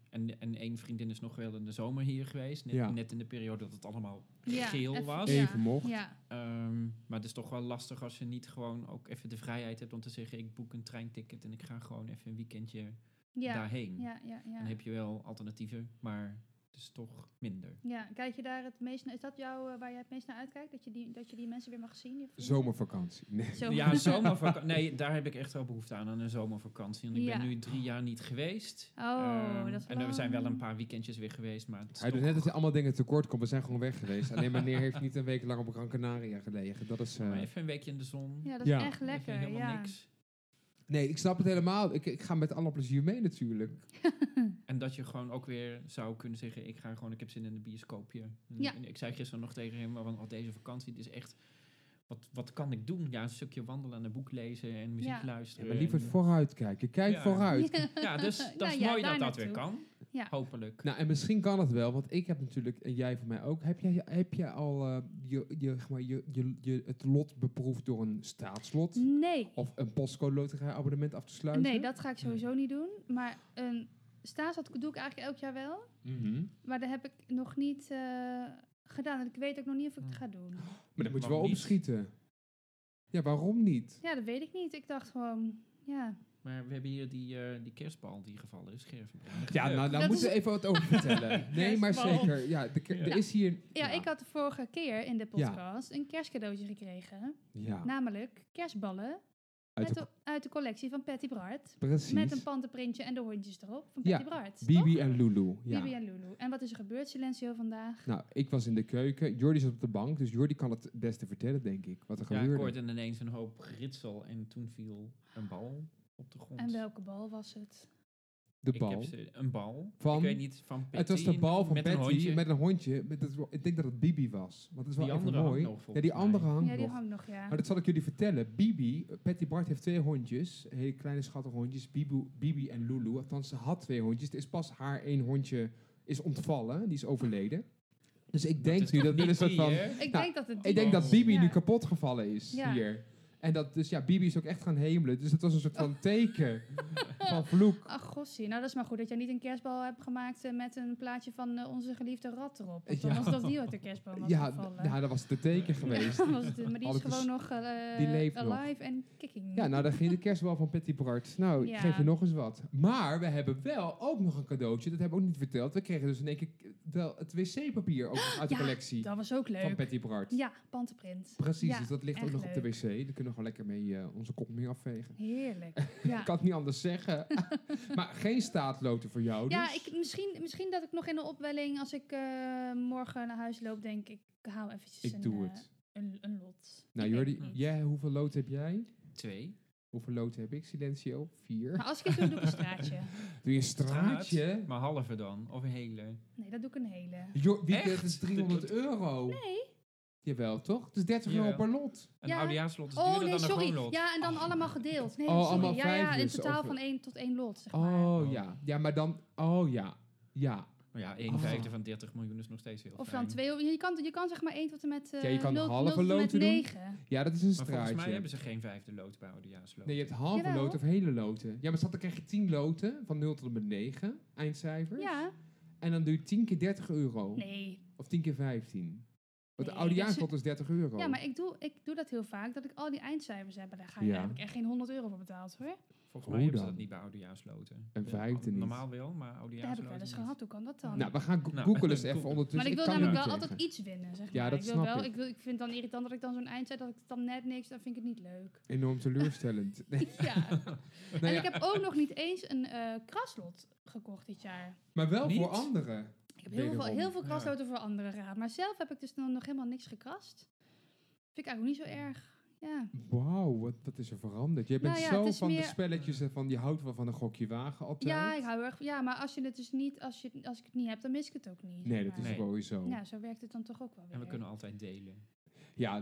S4: en, en één vriendin is nog wel in de zomer hier geweest. Net,
S3: Ja.
S4: net in de periode dat het allemaal
S2: Ja,
S4: geel
S2: even-
S4: was.
S3: Even mocht.
S2: Ja,
S4: Ehm, maar het is toch wel lastig als je niet gewoon ook even de vrijheid hebt om te zeggen... ik boek een treinticket en ik ga gewoon even een weekendje
S2: ja,
S4: daarheen.
S2: ja, ja,
S4: Dan
S2: ja.
S4: heb je wel alternatieven, maar het is toch minder.
S2: Ja, kijk je daar het meest naar... Is dat jou, eh, waar je het meest naar uitkijkt? Dat je die, dat je die mensen weer mag zien? je vrienden?
S3: zomervakantie. Nee.
S2: Zo.
S4: Ja, zomervakantie. Nee, daar heb ik echt wel behoefte aan, aan een zomervakantie. Want ik
S2: Ja.
S4: ben nu drie jaar niet geweest.
S2: Oh,
S4: Ehm,
S2: dat is
S4: En er zijn wel
S2: lang.
S4: een paar weekendjes weer geweest, maar het is
S3: Hij doet
S4: toch-
S3: net dat hij allemaal dingen tekort komt. We zijn gewoon weg geweest. Alleen meneer heeft niet een week lang op Gran Canaria gelegen. Dat is... eh,
S4: maar even een weekje in de zon.
S2: Ja, dat is
S3: Ja.
S2: echt
S4: Even
S2: lekker.
S4: helemaal
S2: ja.
S4: niks.
S3: Nee, ik snap het helemaal. Ik, ik ga met alle plezier mee natuurlijk.
S4: En dat je gewoon ook weer zou kunnen zeggen, ik ga gewoon, ik heb zin in een bioscoopje. En-
S2: Ja.
S4: en ik zei gisteren nog tegen hem, van oh, deze vakantie, het is echt, wat, wat kan ik doen? Ja, een stukje wandelen en een boek lezen en muziek
S2: Ja.
S4: luisteren.
S3: maar liever
S4: en-
S3: vooruit kijken. Kijk
S4: Ja.
S3: vooruit.
S4: Ja, dus dat
S2: Nou
S4: is
S2: ja,
S4: mooi
S2: daar
S4: dat dat weer
S2: naartoe.
S4: kan.
S2: Ja.
S4: Hopelijk.
S3: Nou, en misschien kan het wel, want ik heb natuurlijk, en jij van mij ook, heb jij, heb jij al eh, je, je, zeg maar, je, je, je, het lot beproefd door een staatslot
S2: Nee.
S3: of een postcode loterij abonnement af te sluiten?
S2: Nee, dat ga ik sowieso niet doen. Maar een staatsad doe ik eigenlijk elk jaar wel.
S3: Mhm.
S2: Maar dat heb ik nog niet eh, gedaan. En ik weet ook nog niet of
S4: Hm.
S2: ik het ga doen.
S3: Maar dan moet je wel
S4: Waarom niet?
S3: opschieten. Ja, waarom niet?
S2: Ja, dat weet ik niet. Ik dacht gewoon, ja.
S4: Maar we hebben hier die, eh, die kerstbal die gevallen is, Gerven.
S3: Ja, nou,
S2: Dat
S3: daar moeten
S2: is-
S3: we even wat over vertellen. Nee, maar
S2: Kerstboom.
S3: zeker. Ja, de ker-
S4: Ja.
S3: er is hier...
S2: Ja, ik had de vorige keer in de
S3: Ja.
S2: podcast een kerstcadeautje gekregen.
S3: Ja.
S2: Namelijk kerstballen
S3: Uit
S2: Uit
S3: de
S2: de, uit de collectie van Patty Bart.
S3: Precies.
S2: Met een pantenprintje en de hondjes erop van
S3: Ja,
S2: Patty Bart.
S3: Bibi en Lulu. Ja.
S2: Bibi en Lulu. En wat is er gebeurd, Silencio, vandaag?
S3: Nou, ik was in de keuken. Jordi zat op de bank, dus Jordi kan het beste vertellen, denk ik. Wat er
S4: Ja, ik
S3: gebeurde.
S4: hoorde ineens een hoop geritsel en toen viel een bal op de grond.
S2: En welke bal was het?
S3: de
S4: Ik
S3: bal.
S4: heb ze- een bal.
S3: Van-
S4: ik weet niet, van Patty.
S3: het was de bal van
S4: met
S3: Patty
S4: een hondje.
S3: met een hondje. Met het- ik denk dat het Bibi was. Want het is wel
S4: Die
S3: even
S4: andere
S3: mooi.
S4: hangt nog,
S3: ja,
S4: volgens
S3: die andere
S4: mij.
S3: hangt
S2: ja, die
S3: nog.
S2: hangt nog, ja.
S3: Maar dat zal ik jullie vertellen. Bibi, eh, Patty Bart heeft twee hondjes. Hele kleine schattige hondjes. Bibu, Bibi en Lulu. Althans, ze had twee hondjes. Er is pas haar één hondje is ontvallen. Die is overleden. Dus ik denk nu dat dit een soort van...
S2: ik
S3: nou,
S2: denk dat het die
S3: Ik denk dat
S2: was.
S3: Bibi
S2: Ja.
S3: nu kapot gevallen is
S2: Ja.
S3: hier. En dat dus, ja, Bibi is ook echt gaan hemelen. Dus het was een soort
S2: Oh.
S3: van teken van vloek.
S2: Ach, gossie. Nou, dat is maar goed dat jij niet een kerstbal hebt gemaakt eh, met een plaatje van eh, onze geliefde rat erop. Want dan
S3: Ja.
S2: was dat die uit de kerstboom was
S3: Ja,
S2: gevallen.
S3: d- ja, dat was de teken geweest.
S2: Ja, was het, maar die
S3: Had
S2: is
S3: ik dus-
S2: gewoon nog eh,
S3: die leeft nog.
S2: alive en kicking.
S3: Ja, nou, dan ging de kerstbal van Patty Bart. Nou, ik
S2: Ja.
S3: geef je nog eens wat. Maar we hebben wel ook nog een cadeautje. Dat hebben we ook niet verteld. We kregen dus in één keer k- wel het wc-papier ook nog uit de
S2: Ja,
S3: collectie
S2: dat was ook
S3: van
S2: leuk.
S3: Patty Bart.
S2: Ja, pantenprint.
S3: Precies,
S2: Ja,
S3: dus dat ligt ook
S2: echt
S3: nog op de
S2: leuk.
S3: wc. Daar kunnen we gewoon lekker mee eh, onze kop mee afvegen.
S2: Heerlijk. Ja.
S3: Ik kan het niet anders zeggen. maar geen staatloten voor jou dus.
S2: Ja, ik, misschien, misschien dat ik nog in de opwelling, als ik eh, morgen naar huis loop, denk ik, ik haal eventjes
S3: Ik
S2: een,
S3: doe
S2: eh,
S3: het.
S2: een, een lot.
S3: Nou
S2: Ik weet
S3: Jordi,
S4: Hm.
S2: het niet.
S3: jij, hoeveel lood heb jij?
S4: Twee.
S3: Hoeveel lood heb ik, Silencio? Vier.
S2: Maar als ik het doe, doe ik een straatje.
S3: Doe je een straatje?
S4: Maar halve dan, of een hele.
S2: Nee, dat doe ik een hele.
S3: Jo, wie, dat
S4: Echt?
S3: is 300 euro.
S2: Nee.
S3: Jawel, toch? Dus 30 euro
S4: Jawel.
S3: per lot.
S4: Een
S2: Ja.
S4: oudejaarslot is
S2: Oh
S4: duurder
S2: nee,
S4: dan een
S2: sorry.
S4: gewoon lot.
S2: Ja, en dan allemaal gedeeld. Nee,
S3: Oh,
S2: sorry.
S3: allemaal
S2: ja, ja, in
S3: vijfjes,
S2: totaal
S3: of-
S2: van één tot één lot, zeg maar.
S3: Oh
S4: Oh.
S3: ja. Ja, maar dan... Oh ja. Ja.
S4: Maar ja, 1
S3: Oh.
S4: vijfde van 30 miljoen is nog steeds heel
S2: Of
S4: fijn.
S2: dan twee. Je kan, je kan zeg maar één tot en met eh
S3: Ja, je kan
S2: nul-
S3: halve
S2: nul tot en met
S3: loten doen.
S2: negen.
S3: Ja, dat is een
S4: Maar volgens mij
S3: straatje.
S4: hebben ze geen vijfde lood bij oudejaarsloten.
S3: Nee, je hebt halve
S2: Jawel.
S3: loten of hele loten. Ja, maar zat, dan krijg je 10 loten van 0 tot en met 9 eindcijfers.
S2: Ja.
S3: En dan doe je 10 keer 30 euro.
S2: Nee.
S3: Of 10 keer 15. Want de
S2: Nee, dus
S3: oudejaarslot is 30 euro.
S2: Ja, maar ik doe, ik doe dat heel vaak, dat ik al die eindcijfers heb. En daar, ga, je
S3: Ja.
S2: daar heb ik echt geen 100 euro voor betaald hoor.
S4: Volgens
S3: Hoe
S4: mij hebben ze
S3: dan?
S4: dat niet bij oudejaarsloten.
S3: Een
S4: Ja,
S3: vijfde niet.
S4: Normaal wel, maar
S2: dat heb ik
S4: oudejaarsloten
S2: wel eens
S4: niet.
S2: gehad. Hoe kan dat dan?
S3: Nou, we gaan go-
S4: Nou,
S3: googelen eens
S4: googelen.
S3: even ondertussen.
S2: maar ik wil
S3: kan
S2: namelijk
S3: het
S2: wel
S3: niet
S2: altijd
S3: tegen.
S2: iets winnen, zeg maar.
S3: Ja, dat
S2: ik, wil
S3: snap
S2: wel,
S3: ik.
S2: ik. wil, ik vind het dan irritant dat ik dan zo'n eindcijfer, dat ik dan net niks, dan vind ik het niet leuk.
S3: Enorm teleurstellend. Nee,
S2: Ja.
S3: nou
S2: en
S3: ja,
S2: ik heb ook nog niet eens een eh, kraslot gekocht dit jaar.
S3: maar wel
S4: Niet?
S3: voor anderen.
S2: Ik heb heel veel,
S3: Wederom,
S2: heel veel
S4: ja.
S2: krasloten voor anderen gehad. Maar zelf heb ik dus nog, nog helemaal niks gekrast. Vind ik eigenlijk niet zo erg. Ja.
S3: Wauw, wat, wat is er veranderd? Jij bent
S2: Nou ja,
S3: zo
S2: het is
S3: van de
S2: meer-
S3: spelletjes en van die houdt wel van een gokje wagen altijd.
S2: ja, ik hou erg van. Ja, maar als, je het dus niet, als, je, het- als ik het niet heb, dan mis ik het ook niet.
S3: Nee,
S2: zeg
S3: dat is
S2: maar.
S4: Nee.
S3: sowieso. Ja,
S2: Ja, zo werkt het dan toch ook wel weer.
S4: En we kunnen altijd delen.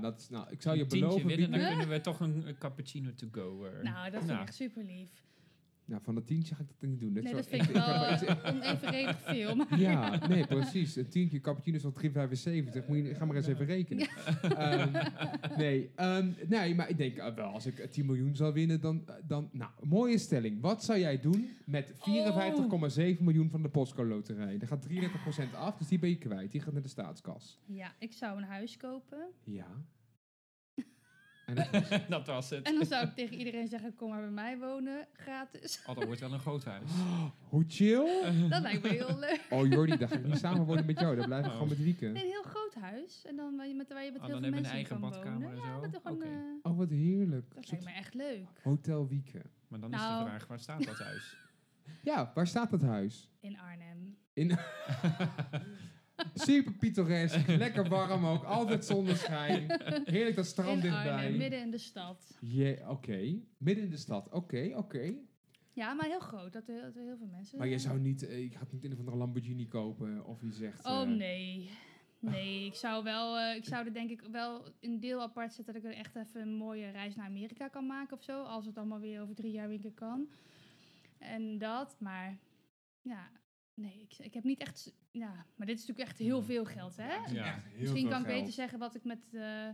S3: dat is, nou, ik zou je
S4: Een tientje
S3: beloven...
S4: winnen, dan
S3: Bibi-
S2: Bibi-
S4: kunnen we toch een, een cappuccino to go. er.
S2: Nou, dat vind
S4: Nou.
S2: ik echt super lief.
S3: Nou, van dat tientje ga ik dat niet doen.
S2: Nee,
S3: zou-
S2: dat vind ik wel
S3: heb-
S2: eh, onevenredig veel. Maar
S3: Ja, nee, precies. Een tientje cappuccino is al 3,75. Moet je, ga maar eens even rekenen. Ehm, nee, ehm, nee, maar ik denk eh, wel, als ik eh, 10 miljoen zou winnen, dan, eh, dan... Nou, mooie stelling. Wat zou jij doen met 54,7 miljoen van de Postco Loterij? Daar gaat 33% af, dus die ben je kwijt. Die gaat naar de staatskas.
S2: ja, ik zou een huis kopen.
S3: Ja. En dat was-
S4: Nou, dat was het.
S2: En dan zou ik tegen iedereen zeggen, kom maar bij mij wonen, gratis.
S4: Oh, dat wordt wel een groot huis.
S3: Hoe chill.
S2: Dat lijkt me heel leuk.
S3: Oh Jordi, daar ga ik niet samen wonen met jou. Daar blijf ik
S4: Oh.
S3: gewoon met Wieke.
S2: Een heel groot huis. En dan waar je met, waar je met
S4: Oh,
S2: heel
S4: dan
S2: veel
S4: hebben we
S2: mensen in
S4: een eigen
S2: kan
S4: badkamer
S2: wonen.
S4: en
S2: Ja,
S4: zo.
S2: dat, is gewoon,
S4: Oké.
S2: eh,
S3: Oh, wat heerlijk.
S2: dat
S3: Soort
S2: lijkt me echt leuk.
S3: Hotel Wieke.
S4: Maar dan is
S2: Nou.
S4: de vraag, waar staat dat huis?
S3: Ja, waar staat dat huis?
S2: In Arnhem.
S3: Super pittoresk, lekker warm ook, altijd zonneschijn. Heerlijk dat strand
S2: in Arnhem,
S3: dichtbij.
S2: midden in de stad.
S3: Ja, oké. Midden in de stad, oké, oké.
S2: Ja, maar heel groot. Dat er, dat er heel veel mensen...
S3: Maar je zou niet, eh, ik ga niet een of andere Lamborghini kopen of je zegt...
S2: Oh
S3: eh,
S2: nee. Nee, ik zou, wel, eh, ik zou er denk ik wel een deel apart zetten dat ik er echt even een mooie reis naar Amerika kan maken of zo. Als het allemaal weer over drie jaar weer een keer kan. En dat, maar ja, nee, ik, ik heb niet echt. z- Ja, maar dit is natuurlijk echt heel veel geld, hè?
S3: het is
S4: Ja.
S3: echt heel
S2: Misschien
S3: veel
S2: kan ik
S3: geld.
S2: beter zeggen wat ik met eh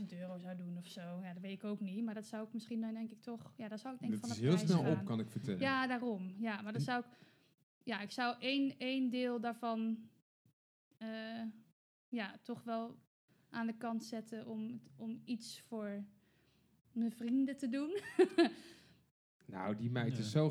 S2: 10.000 euro zou doen of zo. Ja, dat weet ik ook niet. Maar dat zou ik misschien dan denk ik toch. Ja, daar zou ik denk ik
S3: Dit
S2: van
S3: is
S2: de
S3: heel
S2: prijs
S3: snel
S2: gaan.
S3: op, kan Hm. ik vertellen.
S2: Ja, daarom. Ja, maar dan zou ik... Ja, ik zou één, één deel daarvan... eh, ja, toch wel aan de kant zetten om, om iets voor mijn vrienden te doen.
S3: Nou, die meid
S4: Ja.
S3: is zo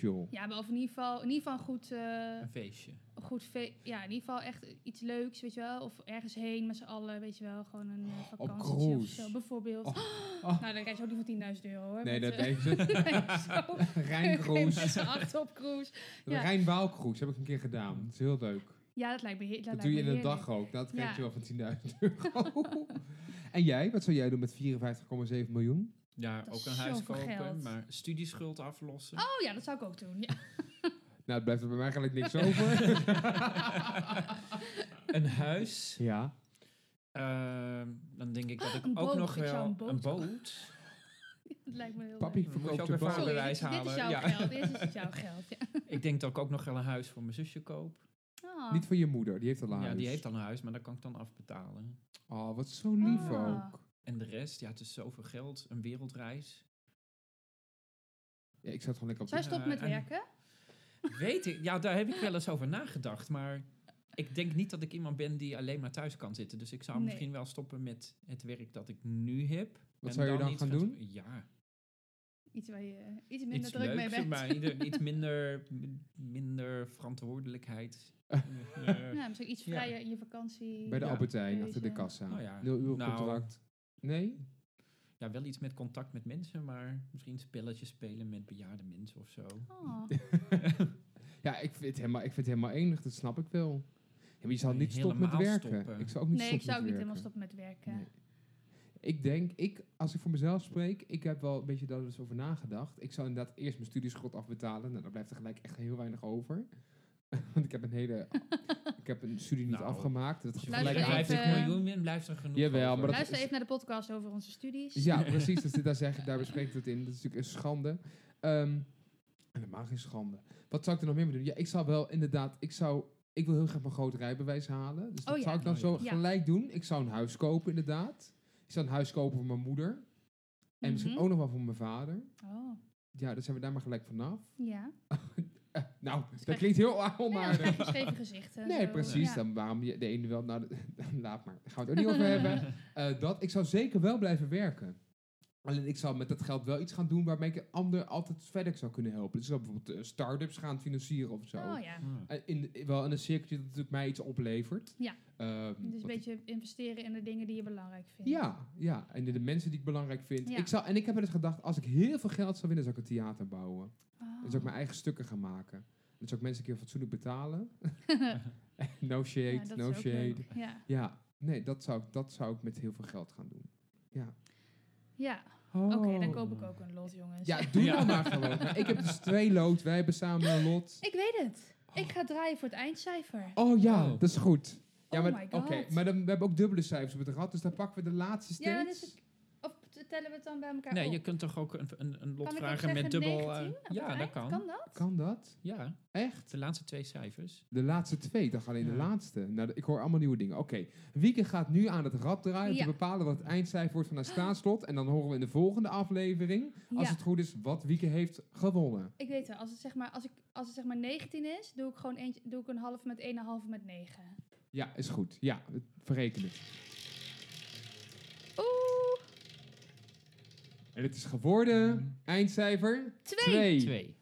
S3: joh.
S2: Ja, maar of in ieder geval, in ieder geval een goed, eh,
S4: Een feestje.
S2: een goed fe- ja, in ieder geval echt iets leuks, weet je wel. Of ergens heen met z'n allen, weet je wel. Gewoon een eh,
S3: op
S2: vakantie of
S3: cruise.
S2: zo, bijvoorbeeld.
S3: Oh,
S2: Oh, Nou, dan krijg je ook niet voor 10.000 euro, hoor.
S3: Nee,
S2: met,
S3: dat
S2: eh,
S3: denk ze.
S2: zo. Met
S3: Rijnkroes.
S2: z'n acht op cruise. Ja.
S3: Rijnwaalkroes heb ik een keer gedaan. Dat is heel leuk.
S2: Ja, dat lijkt me heer- dat
S3: Dat
S2: lijkt
S3: doe je
S2: me
S3: in een
S2: heerlijk.
S3: dag ook. Dat krijg je
S2: Ja.
S3: wel van 10.000 euro. en jij, wat zou jij doen met 54,7 miljoen?
S4: Ja,
S2: Dat
S4: ook
S2: is
S4: een huis
S2: zoveel
S4: kopen,
S2: geld.
S4: maar studieschuld aflossen.
S2: Oh ja, dat zou ik ook doen. Ja.
S3: Nou, het blijft er bij mij eigenlijk niks over.
S4: Een huis.
S3: ja.
S4: Ehm, dan denk ik dat ik
S2: Een
S4: ook
S2: boot.
S4: nog
S2: Ik zou
S4: wel
S2: een boot
S4: een boot.
S2: Dat lijkt me heel leuk.
S3: Papi
S4: Dan moet je
S3: verkoopt
S4: ook
S3: de
S4: weer
S3: boot.
S2: Sorry, dit,
S4: Paardenreis
S2: is- dit is
S4: halen,
S2: jouw
S4: ja.
S2: geld. Dit is jouw geld. Ja.
S4: Ik denk dat ik ook nog wel een huis voor mijn zusje koop.
S2: Oh.
S3: Niet voor je moeder, die heeft al een
S4: Ja,
S3: huis.
S4: die heeft al een huis, maar dat kan ik dan afbetalen.
S3: Oh, wat zo lief
S2: Ah.
S3: ook.
S4: En de rest, ja, het is zoveel geld. Een wereldreis.
S3: Ja, ik zou het gewoon lekker op
S2: Zou je stoppen met
S4: Eh, en-
S2: werken?
S4: Weet ik, ja, daar heb ik wel eens over nagedacht, maar ik denk niet dat ik iemand ben die alleen maar thuis kan zitten. Dus ik zou
S2: Nee.
S4: misschien wel stoppen met het werk dat ik nu heb.
S3: Wat
S4: en
S3: zou je dan
S4: iets
S3: gaan doen?
S4: Ja,
S2: Iets waar je iets minder
S4: iets
S2: druk mee
S4: leuks,
S2: bent.
S4: maar ieder- iets minder, min- minder verantwoordelijkheid. Eh,
S2: Ja, misschien iets
S4: Ja.
S2: vrijer in je vakantie.
S3: Bij de
S4: Ja.
S3: Albert Heijn,
S2: Deze.
S3: achter de kassa.
S4: Nou ja.
S3: Nul uur
S4: Nou.
S3: contract. Nee?
S4: ja, wel iets met contact met mensen, maar misschien spelletjes spelen met bejaarde mensen of zo.
S2: Oh.
S3: Ja, ik vind, het helemaal, ik vind het helemaal enig, dat snap ik wel. Ja, maar je zal
S4: Nee,
S3: niet stoppen met
S4: helemaal
S3: werken.
S4: stoppen.
S3: Ik zou ook niet
S2: Nee, ik
S3: stoppen
S2: zou ook niet
S3: met
S2: helemaal stoppen
S3: werken.
S2: met werken.
S3: Nee. Ik denk, ik, als ik voor mezelf spreek, ik heb wel een beetje daar dus over nagedacht. Ik zou inderdaad eerst mijn studieschot afbetalen. Nou, dan blijft er gelijk echt heel weinig over. Want ik heb een hele... ik heb een studie niet
S4: Nou,
S3: afgemaakt. Dat
S4: Als je
S3: gelijk
S2: Luister
S3: aan-
S4: 50
S2: even.
S4: miljoen wint, blijft er genoeg
S3: Jawel,
S4: over.
S3: maar dat
S2: Luister
S3: is-
S2: even naar de podcast over onze studies.
S3: Ja, precies. Dus dit, daar, zeg, ik- daar bespreek ik het in. Dat is natuurlijk een schande. Ehm en helemaal geen schande. Wat zou ik er nog meer mee doen? Ja, ik zou wel inderdaad... Ik zou... Ik wil heel graag mijn groot rijbewijs halen. Dus dat
S2: Oh ja.
S3: zou ik dan
S4: Oh ja.
S3: zo
S2: Ja.
S3: gelijk doen. Ik zou een huis kopen, inderdaad. Ik zou een huis kopen voor mijn moeder. En misschien
S2: Mhm.
S3: ook nog wel voor mijn vader.
S2: Oh,
S3: Ja, dan zijn we daar maar gelijk vanaf.
S2: ja.
S3: Eh, nou, dat
S2: krijg-
S3: klinkt heel
S2: Nee, dan krijg
S3: onaardig.
S2: je scheve gezichten. en
S3: Nee,
S2: eh, zo.
S3: precies.
S2: Ja.
S3: Dan waarom je de ene wel... Nou, de- laat maar. Daar gaan we het ook niet over hebben. Eh, dat, ik zou zeker wel blijven werken. Alleen ik zou met dat geld wel iets gaan doen waarmee ik een ander altijd verder zou kunnen helpen. Dus ik zou bijvoorbeeld eh, start-ups gaan financieren of zo.
S2: Oh ja.
S4: Ah.
S3: Eh, in, de- wel in een cirkeltje dat natuurlijk mij iets oplevert.
S2: Ja.
S3: Ehm,
S2: Dus een
S3: wat-
S2: beetje investeren in de dingen die je belangrijk vindt.
S3: ja, ja, en de, de mensen die ik belangrijk vind.
S2: Ja.
S3: Ik zou, en ik heb wel eens gedacht, als ik heel veel geld zou winnen, zou ik een theater bouwen.
S2: Oh.
S3: Dan zou ik mijn eigen stukken gaan maken. Dan zou ik mensen een keer fatsoenlijk betalen. no shade,
S2: Ja, dat
S3: no
S2: is ook
S3: shade.
S2: leuk. Ja.
S3: Ja, nee, dat zou, ik- dat zou ik met heel veel geld gaan doen.
S2: ja.
S3: Oh.
S2: Oké, dan dus. koop ik ook een lot, jongens.
S3: Ja, doe
S4: Ja.
S3: nou maar gewoon. Maar ik heb dus twee lood, wij hebben samen een lot.
S2: Ik weet het. Ik ga draaien voor het eindcijfer.
S3: Oh ja,
S4: Oh.
S3: dat is goed. Ja,
S2: Oh
S3: maar,
S2: my
S3: oké,
S2: god.
S3: maar dan, we hebben ook dubbele cijfers op het rad, dus dan pakken we de laatste steeds.
S2: Ja, dan is het- Of t- tellen we het dan bij elkaar
S4: Nee,
S2: op?
S4: je kunt toch ook een, een, een
S2: Kan
S4: lot
S2: ik ook
S4: vragen
S2: zeggen
S4: met dubbel... eh,
S2: 19 op
S4: ja,
S2: het
S4: dat
S2: eind?
S4: kan.
S2: Kan dat?
S3: Kan dat?
S4: Ja,
S3: Echt?
S4: de laatste twee cijfers.
S3: De laatste twee, ik dacht alleen de
S4: Ja.
S3: laatste. Nou, ik hoor allemaal nieuwe dingen. Oké, Wieke gaat nu aan het rad draaien
S2: Ja.
S3: te bepalen wat het eindcijfer wordt van haar staatslot. En dan horen we in de volgende aflevering, als
S2: ja,
S3: het goed is, wat Wieke heeft gewonnen.
S2: ik weet het. Als het zeg maar, als ik, als het zeg maar 19 is, doe ik gewoon eentje, doe ik een half met 1 en een half met 9.
S3: Ja, is goed. Ja, het verrekenen.
S2: Oeh,
S3: En het is geworden, eindcijfer...
S2: Twee.
S4: Twee.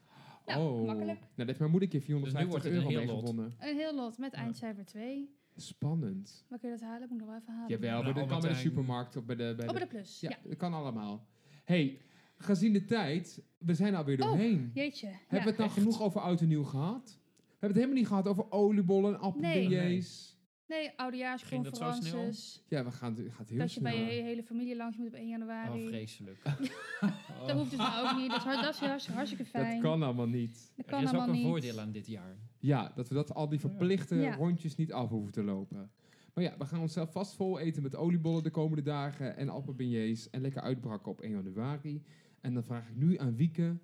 S2: Nou, makkelijk.
S3: Nou, dat heeft mijn moeder een keer
S4: Dus nu
S3: 450
S4: wordt het een
S3: euro
S4: heel
S3: mee
S4: lot.
S3: gewonnen.
S2: Een heel lot met
S4: Ja.
S2: eindcijfer 2.
S3: Spannend.
S2: Waar kun je dat halen? Moet ik nog wel even halen.
S3: Jawel, maar dat
S4: Nou,
S3: kan
S4: Albert
S3: bij de
S4: Heijn.
S3: supermarkt of bij de... Bij
S2: Oh, bij
S3: de
S2: de plus. Ja.
S3: ja, dat kan allemaal. hey, gezien de tijd, we zijn alweer
S2: Oh.
S3: doorheen.
S2: Jeetje. Ja.
S3: Hebben we het nou genoeg over oud en nieuw gehad? We hebben het helemaal niet gehad over oliebollen en appelbeignets.
S2: Nee, oudejaarsconferences.
S3: Ja, we gaan, het gaat heel
S2: Dat je
S3: snel.
S2: bij je hele familie langs moet op 1
S4: Oh,
S2: januari.
S4: vreselijk. Oh.
S2: dat hoeft dus nou ook niet. Dat is, hard- dat is hartstikke- hartstikke fijn.
S3: dat kan allemaal niet.
S2: Dat
S4: Er
S2: kan
S4: is ook
S2: allemaal
S4: een
S2: niet.
S4: voordeel aan dit jaar.
S3: Ja, dat we dat al die verplichte
S2: Ja.
S3: rondjes niet af hoeven te lopen. Maar ja, we gaan onszelf vast vol eten met oliebollen de komende dagen en appelbeignets en lekker uitbraken op 1 januari. En dan vraag ik nu aan Wieke,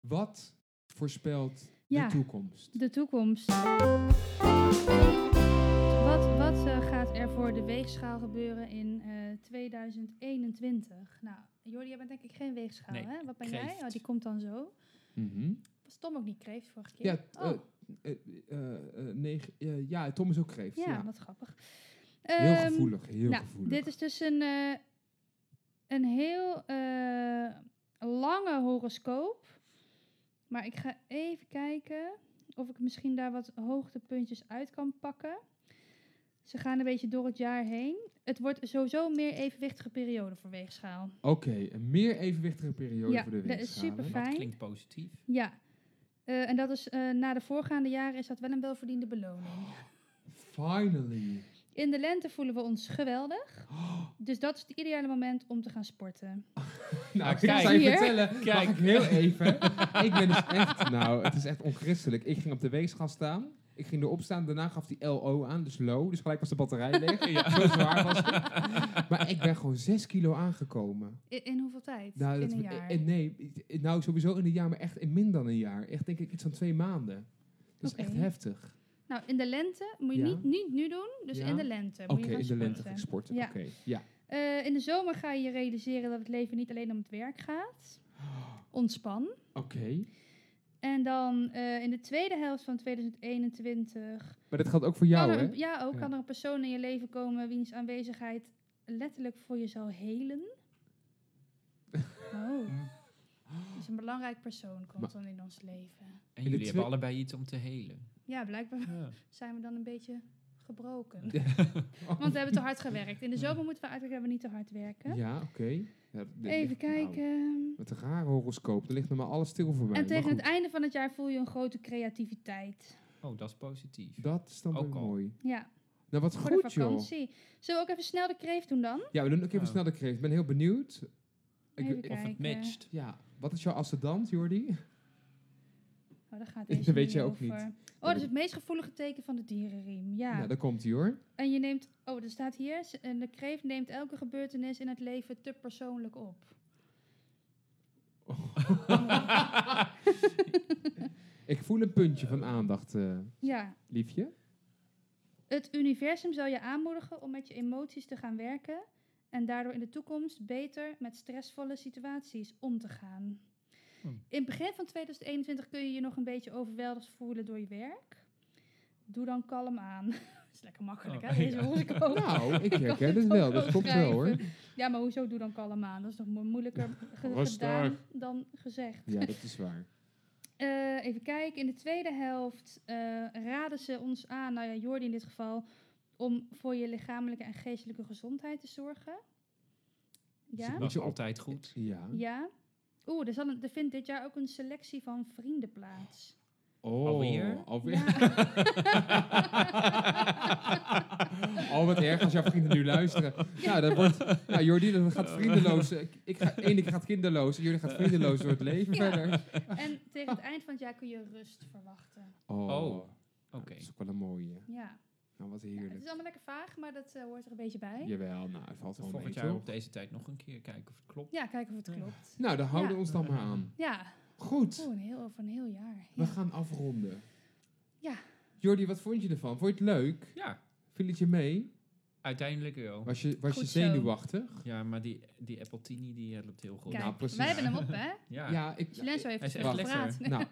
S3: wat voorspelt
S2: Ja.
S3: de toekomst?
S2: De toekomst. Wat, wat eh, gaat er voor de weegschaal gebeuren in eh, 2021? Nou, Jordi, jij bent denk ik geen weegschaal,
S4: Nee,
S2: hè? Wat ben jij?
S4: kreeft.
S2: Oh, die komt dan zo.
S3: Mhm.
S2: Was Tom ook niet kreeft vorige keer?
S3: Ja, t-
S2: oh,
S3: eh, eh, eh, negen- eh, ja, Tom is ook kreeft.
S2: ja,
S3: ja.
S2: wat grappig.
S3: Heel
S2: Ehm,
S3: gevoelig, heel
S2: nou,
S3: gevoelig.
S2: Dit is dus een, eh, een heel eh, lange horoscoop. Maar ik ga even kijken of ik misschien daar wat hoogtepuntjes uit kan pakken. Ze gaan een beetje door het jaar heen. Het wordt sowieso een meer evenwichtige periode voor weegschaal.
S3: Oké, een meer evenwichtige periode
S2: Ja,
S3: voor de
S2: dat is
S3: weegschaal.
S2: super
S3: hè?
S4: Dat
S2: Fijn.
S4: klinkt positief.
S2: Ja. Eh, en dat is eh, na de voorgaande jaren is dat wel een welverdiende beloning.
S4: Nou,
S3: Finally.
S2: In de lente voelen we ons geweldig. Dus dat is het ideale moment om te gaan sporten.
S3: Nou, ik
S4: kijk.
S3: zal je
S2: Hier.
S3: vertellen. Mag
S4: Kijk.
S3: ik heel even? ik ben dus echt, nou, het is echt onchristelijk. Ik ging op de weegschaal staan. Ik ging erop staan. Daarna gaf die LO aan, dus low. Dus gelijk was de batterij leeg. Zo zwaar was het. Maar ik ben gewoon 6 kilo aangekomen.
S2: In, in hoeveel tijd?
S3: Nou,
S2: in
S3: dat,
S2: een jaar.
S3: eh, Nee, eh, nou sowieso in een jaar, maar echt in minder dan een jaar. Echt denk ik iets van twee maanden. Dat is
S2: Oké.
S3: echt heftig.
S2: Nou, in de lente moet je
S3: Ja.
S2: niet, niet nu doen. Dus
S3: Ja.
S2: in de lente moet
S3: Oké,
S2: je gaan
S3: in de lente ging ik
S2: sporten.
S3: sporten.
S2: Ja.
S3: Oké, ja.
S2: Eh, in de zomer ga je je realiseren dat het leven niet alleen om het werk gaat. Ontspan.
S3: Oké.
S2: En dan eh, in de tweede helft van 2021
S3: Maar dat geldt ook voor jou,
S2: kan er
S3: hè?
S2: een, ja, ook
S3: Ja.
S2: kan er een persoon in je leven komen wiens aanwezigheid letterlijk voor je zal helen. Oh. Dus een belangrijk persoon komt
S3: Mm. Maar-
S2: dan in ons leven.
S4: En
S3: de
S4: jullie hebben
S3: twi-
S4: allebei iets om te helen.
S2: Ja, blijkbaar
S4: Ja.
S2: zijn we dan een beetje gebroken. Want we hebben te hard gewerkt. In de zomer moeten we eigenlijk hebben we niet te hard werken.
S3: Ja, oké. Ja, dit
S2: Even
S3: ligt- nou,
S2: kijken.
S3: Met een rare horoscoop. Er ligt normaal alles stil voor mij.
S2: En
S3: maar
S2: tegen het
S3: goed,
S2: einde van het jaar voel je een grote creativiteit.
S4: Oh, dat is positief.
S3: Dat is dan
S4: Ook
S3: weer
S4: al.
S3: mooi.
S2: Ja,
S3: Nou, wat
S2: voor de
S3: goed, joh.
S2: vakantie. Zullen we ook even snel de kreef doen dan?
S3: Ja, we doen ook even
S4: Ja.
S3: snel de kreeft. Ik ben heel benieuwd. Ik-
S2: Even
S3: ik-
S4: Of het
S2: kijken.
S4: matcht.
S3: ja, wat is jouw ascendant, Jordi?
S2: Oh, daar gaat
S3: Dat
S2: deze
S3: weet je
S2: niet
S3: ook niet.
S2: over. Oh, dat is het meest gevoelige teken van de dierenriem. Ja.
S3: Nou, daar komt hij hoor.
S2: En je neemt... Oh, er staat hier... s- en De kreeft neemt elke gebeurtenis in het leven te persoonlijk op.
S3: Ik voel een puntje van aandacht, eh,
S2: Ja.
S3: liefje.
S2: Het universum zal je aanmoedigen om met je emoties te gaan werken... en daardoor in de toekomst beter met stressvolle situaties om te gaan.
S4: Hm.
S2: In het begin van 2021 kun je je nog een beetje overweldigd voelen door je werk. Doe dan kalm aan. Dat is lekker makkelijk,
S4: Oh,
S2: hè? Deze
S4: ja.
S2: horoscoop.
S3: Nou, ik
S2: kan
S3: herken
S2: het
S3: het
S2: ook
S3: wel. Dat
S2: wel
S3: klopt wel hoor.
S2: schrijven. Ja, maar hoezo doe dan kalm aan? Dat is toch mo- moeilijker ge-
S3: Rustig.
S2: gedaan dan gezegd.
S3: Ja, dat is waar.
S2: Eh, even kijken, in de tweede helft eh, raden ze ons aan, nou ja, Jordi in dit geval, om voor je lichamelijke en geestelijke gezondheid te zorgen.
S4: Dus
S2: Ja?
S4: het
S3: Moet
S4: was
S3: je op-
S4: altijd goed.
S3: Ja.
S2: Ja. Oeh, er, zal een- er vindt dit jaar ook een selectie van vrienden plaats.
S3: Oh,
S4: Alweer?
S3: alweer.
S2: Ja.
S3: Oh, wat erg als jouw vrienden nu luisteren. Nou, dat wordt, nou Jordi, dat gaat vriendeloos. eh, Ik ga, één, ik gaat kinderloos en jullie gaat vriendeloos door het leven
S2: Ja.
S3: verder.
S2: en tegen het eind van het jaar kun je rust verwachten.
S3: Oh,
S4: Oh, Oké.
S3: dat is ook wel een mooie.
S2: Ja.
S3: Nou, wat
S2: ja het
S3: heerlijk.
S2: is allemaal lekker vaag, maar dat eh, hoort er een beetje bij.
S3: Jawel, nou, het valt wel mee,
S4: Volgend jaar
S3: toch?
S4: op deze tijd nog een keer kijken of het klopt.
S2: Ja, kijken of het klopt.
S3: Nou, dan houden
S2: Ja.
S3: we ons dan maar aan.
S2: Ja,
S3: Goed,
S2: oh, een heel, over een heel jaar.
S3: we
S2: Ja.
S3: gaan afronden.
S2: Ja.
S3: Jordi, wat vond je ervan? Vond je het leuk?
S4: Ja,
S3: Viel het je mee?
S4: uiteindelijk wel.
S3: Was je, was je
S2: Goed zo.
S3: zenuwachtig?
S4: Ja, maar die, die appletini die helpt heel goed.
S2: Kijk,
S3: Nou, precies.
S2: wij hebben hem op, hè?
S4: Ja.
S3: Ja, ik...
S2: Silenzo Dus heeft
S4: Hij is
S2: het
S4: echt
S2: gepraat.
S4: lekker.
S3: Nou,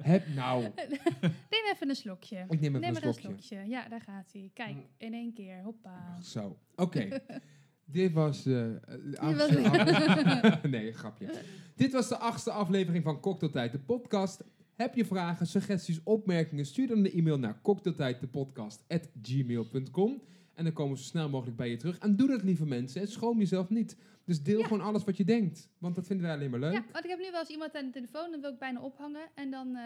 S3: heb nou...
S2: Neem even een slokje.
S3: Ik neem even
S2: Neem
S3: een
S2: maar een
S3: slokje.
S2: slokje. Ja, daar gaat hij. Kijk,
S4: Mm.
S2: in één keer. Hoppa.
S3: Zo, oké. Dit was... eh,
S2: was-
S3: achtste- nee, een grapje. Dit was de achtste aflevering van Cocktailtijd, de podcast. Heb je vragen, suggesties, opmerkingen? Stuur dan een e-mail naar cocktailtijddepodcast.gmail.com en dan komen we zo snel mogelijk bij je terug. En doe dat, lieve mensen. En schroom jezelf niet. Dus deel
S2: Ja.
S3: gewoon alles wat je denkt. Want dat vinden wij alleen maar leuk.
S2: Ja, want ik heb nu wel eens iemand aan de telefoon, dan wil ik bijna ophangen. En dan, eh,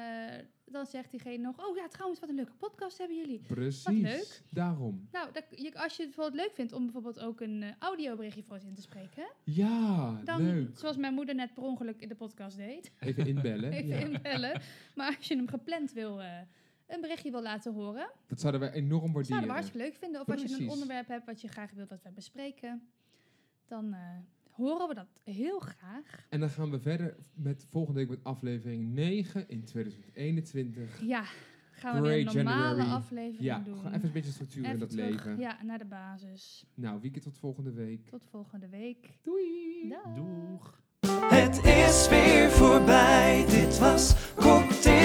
S2: dan zegt diegene nog, oh ja, trouwens, wat een leuke podcast hebben jullie.
S3: Precies.
S2: Wat leuk.
S3: Daarom.
S2: Nou, dat, je, als je het bijvoorbeeld leuk vindt om bijvoorbeeld ook een eh, audioberichtje voor ons in te spreken.
S3: Ja,
S2: Dan,
S3: leuk.
S2: zoals mijn moeder net per ongeluk in de podcast deed,
S3: Even inbellen.
S2: even
S3: ja.
S2: inbellen. Maar als je hem gepland wil, eh, een berichtje wil laten horen,
S3: Dat zouden wij enorm waarderen.
S2: zouden we hartstikke leuk vinden. Of als je een
S3: Precies.
S2: onderwerp hebt wat je graag wilt dat we bespreken, dan eh, horen we dat heel graag.
S3: En dan gaan we verder met volgende week met aflevering 9 in 2021.
S2: Ja, gaan we weer
S3: Grey
S2: een normale
S3: January.
S2: aflevering
S3: Ja,
S2: doen.
S3: gewoon even een beetje structuur in
S2: Even
S3: dat
S2: terug,
S3: leven.
S2: Ja, naar de basis.
S3: Nou, weekend tot volgende week.
S2: Tot volgende week.
S3: Doei!
S2: Dag.
S4: Doeg.
S1: Het is weer voorbij, dit was cocktailtijd.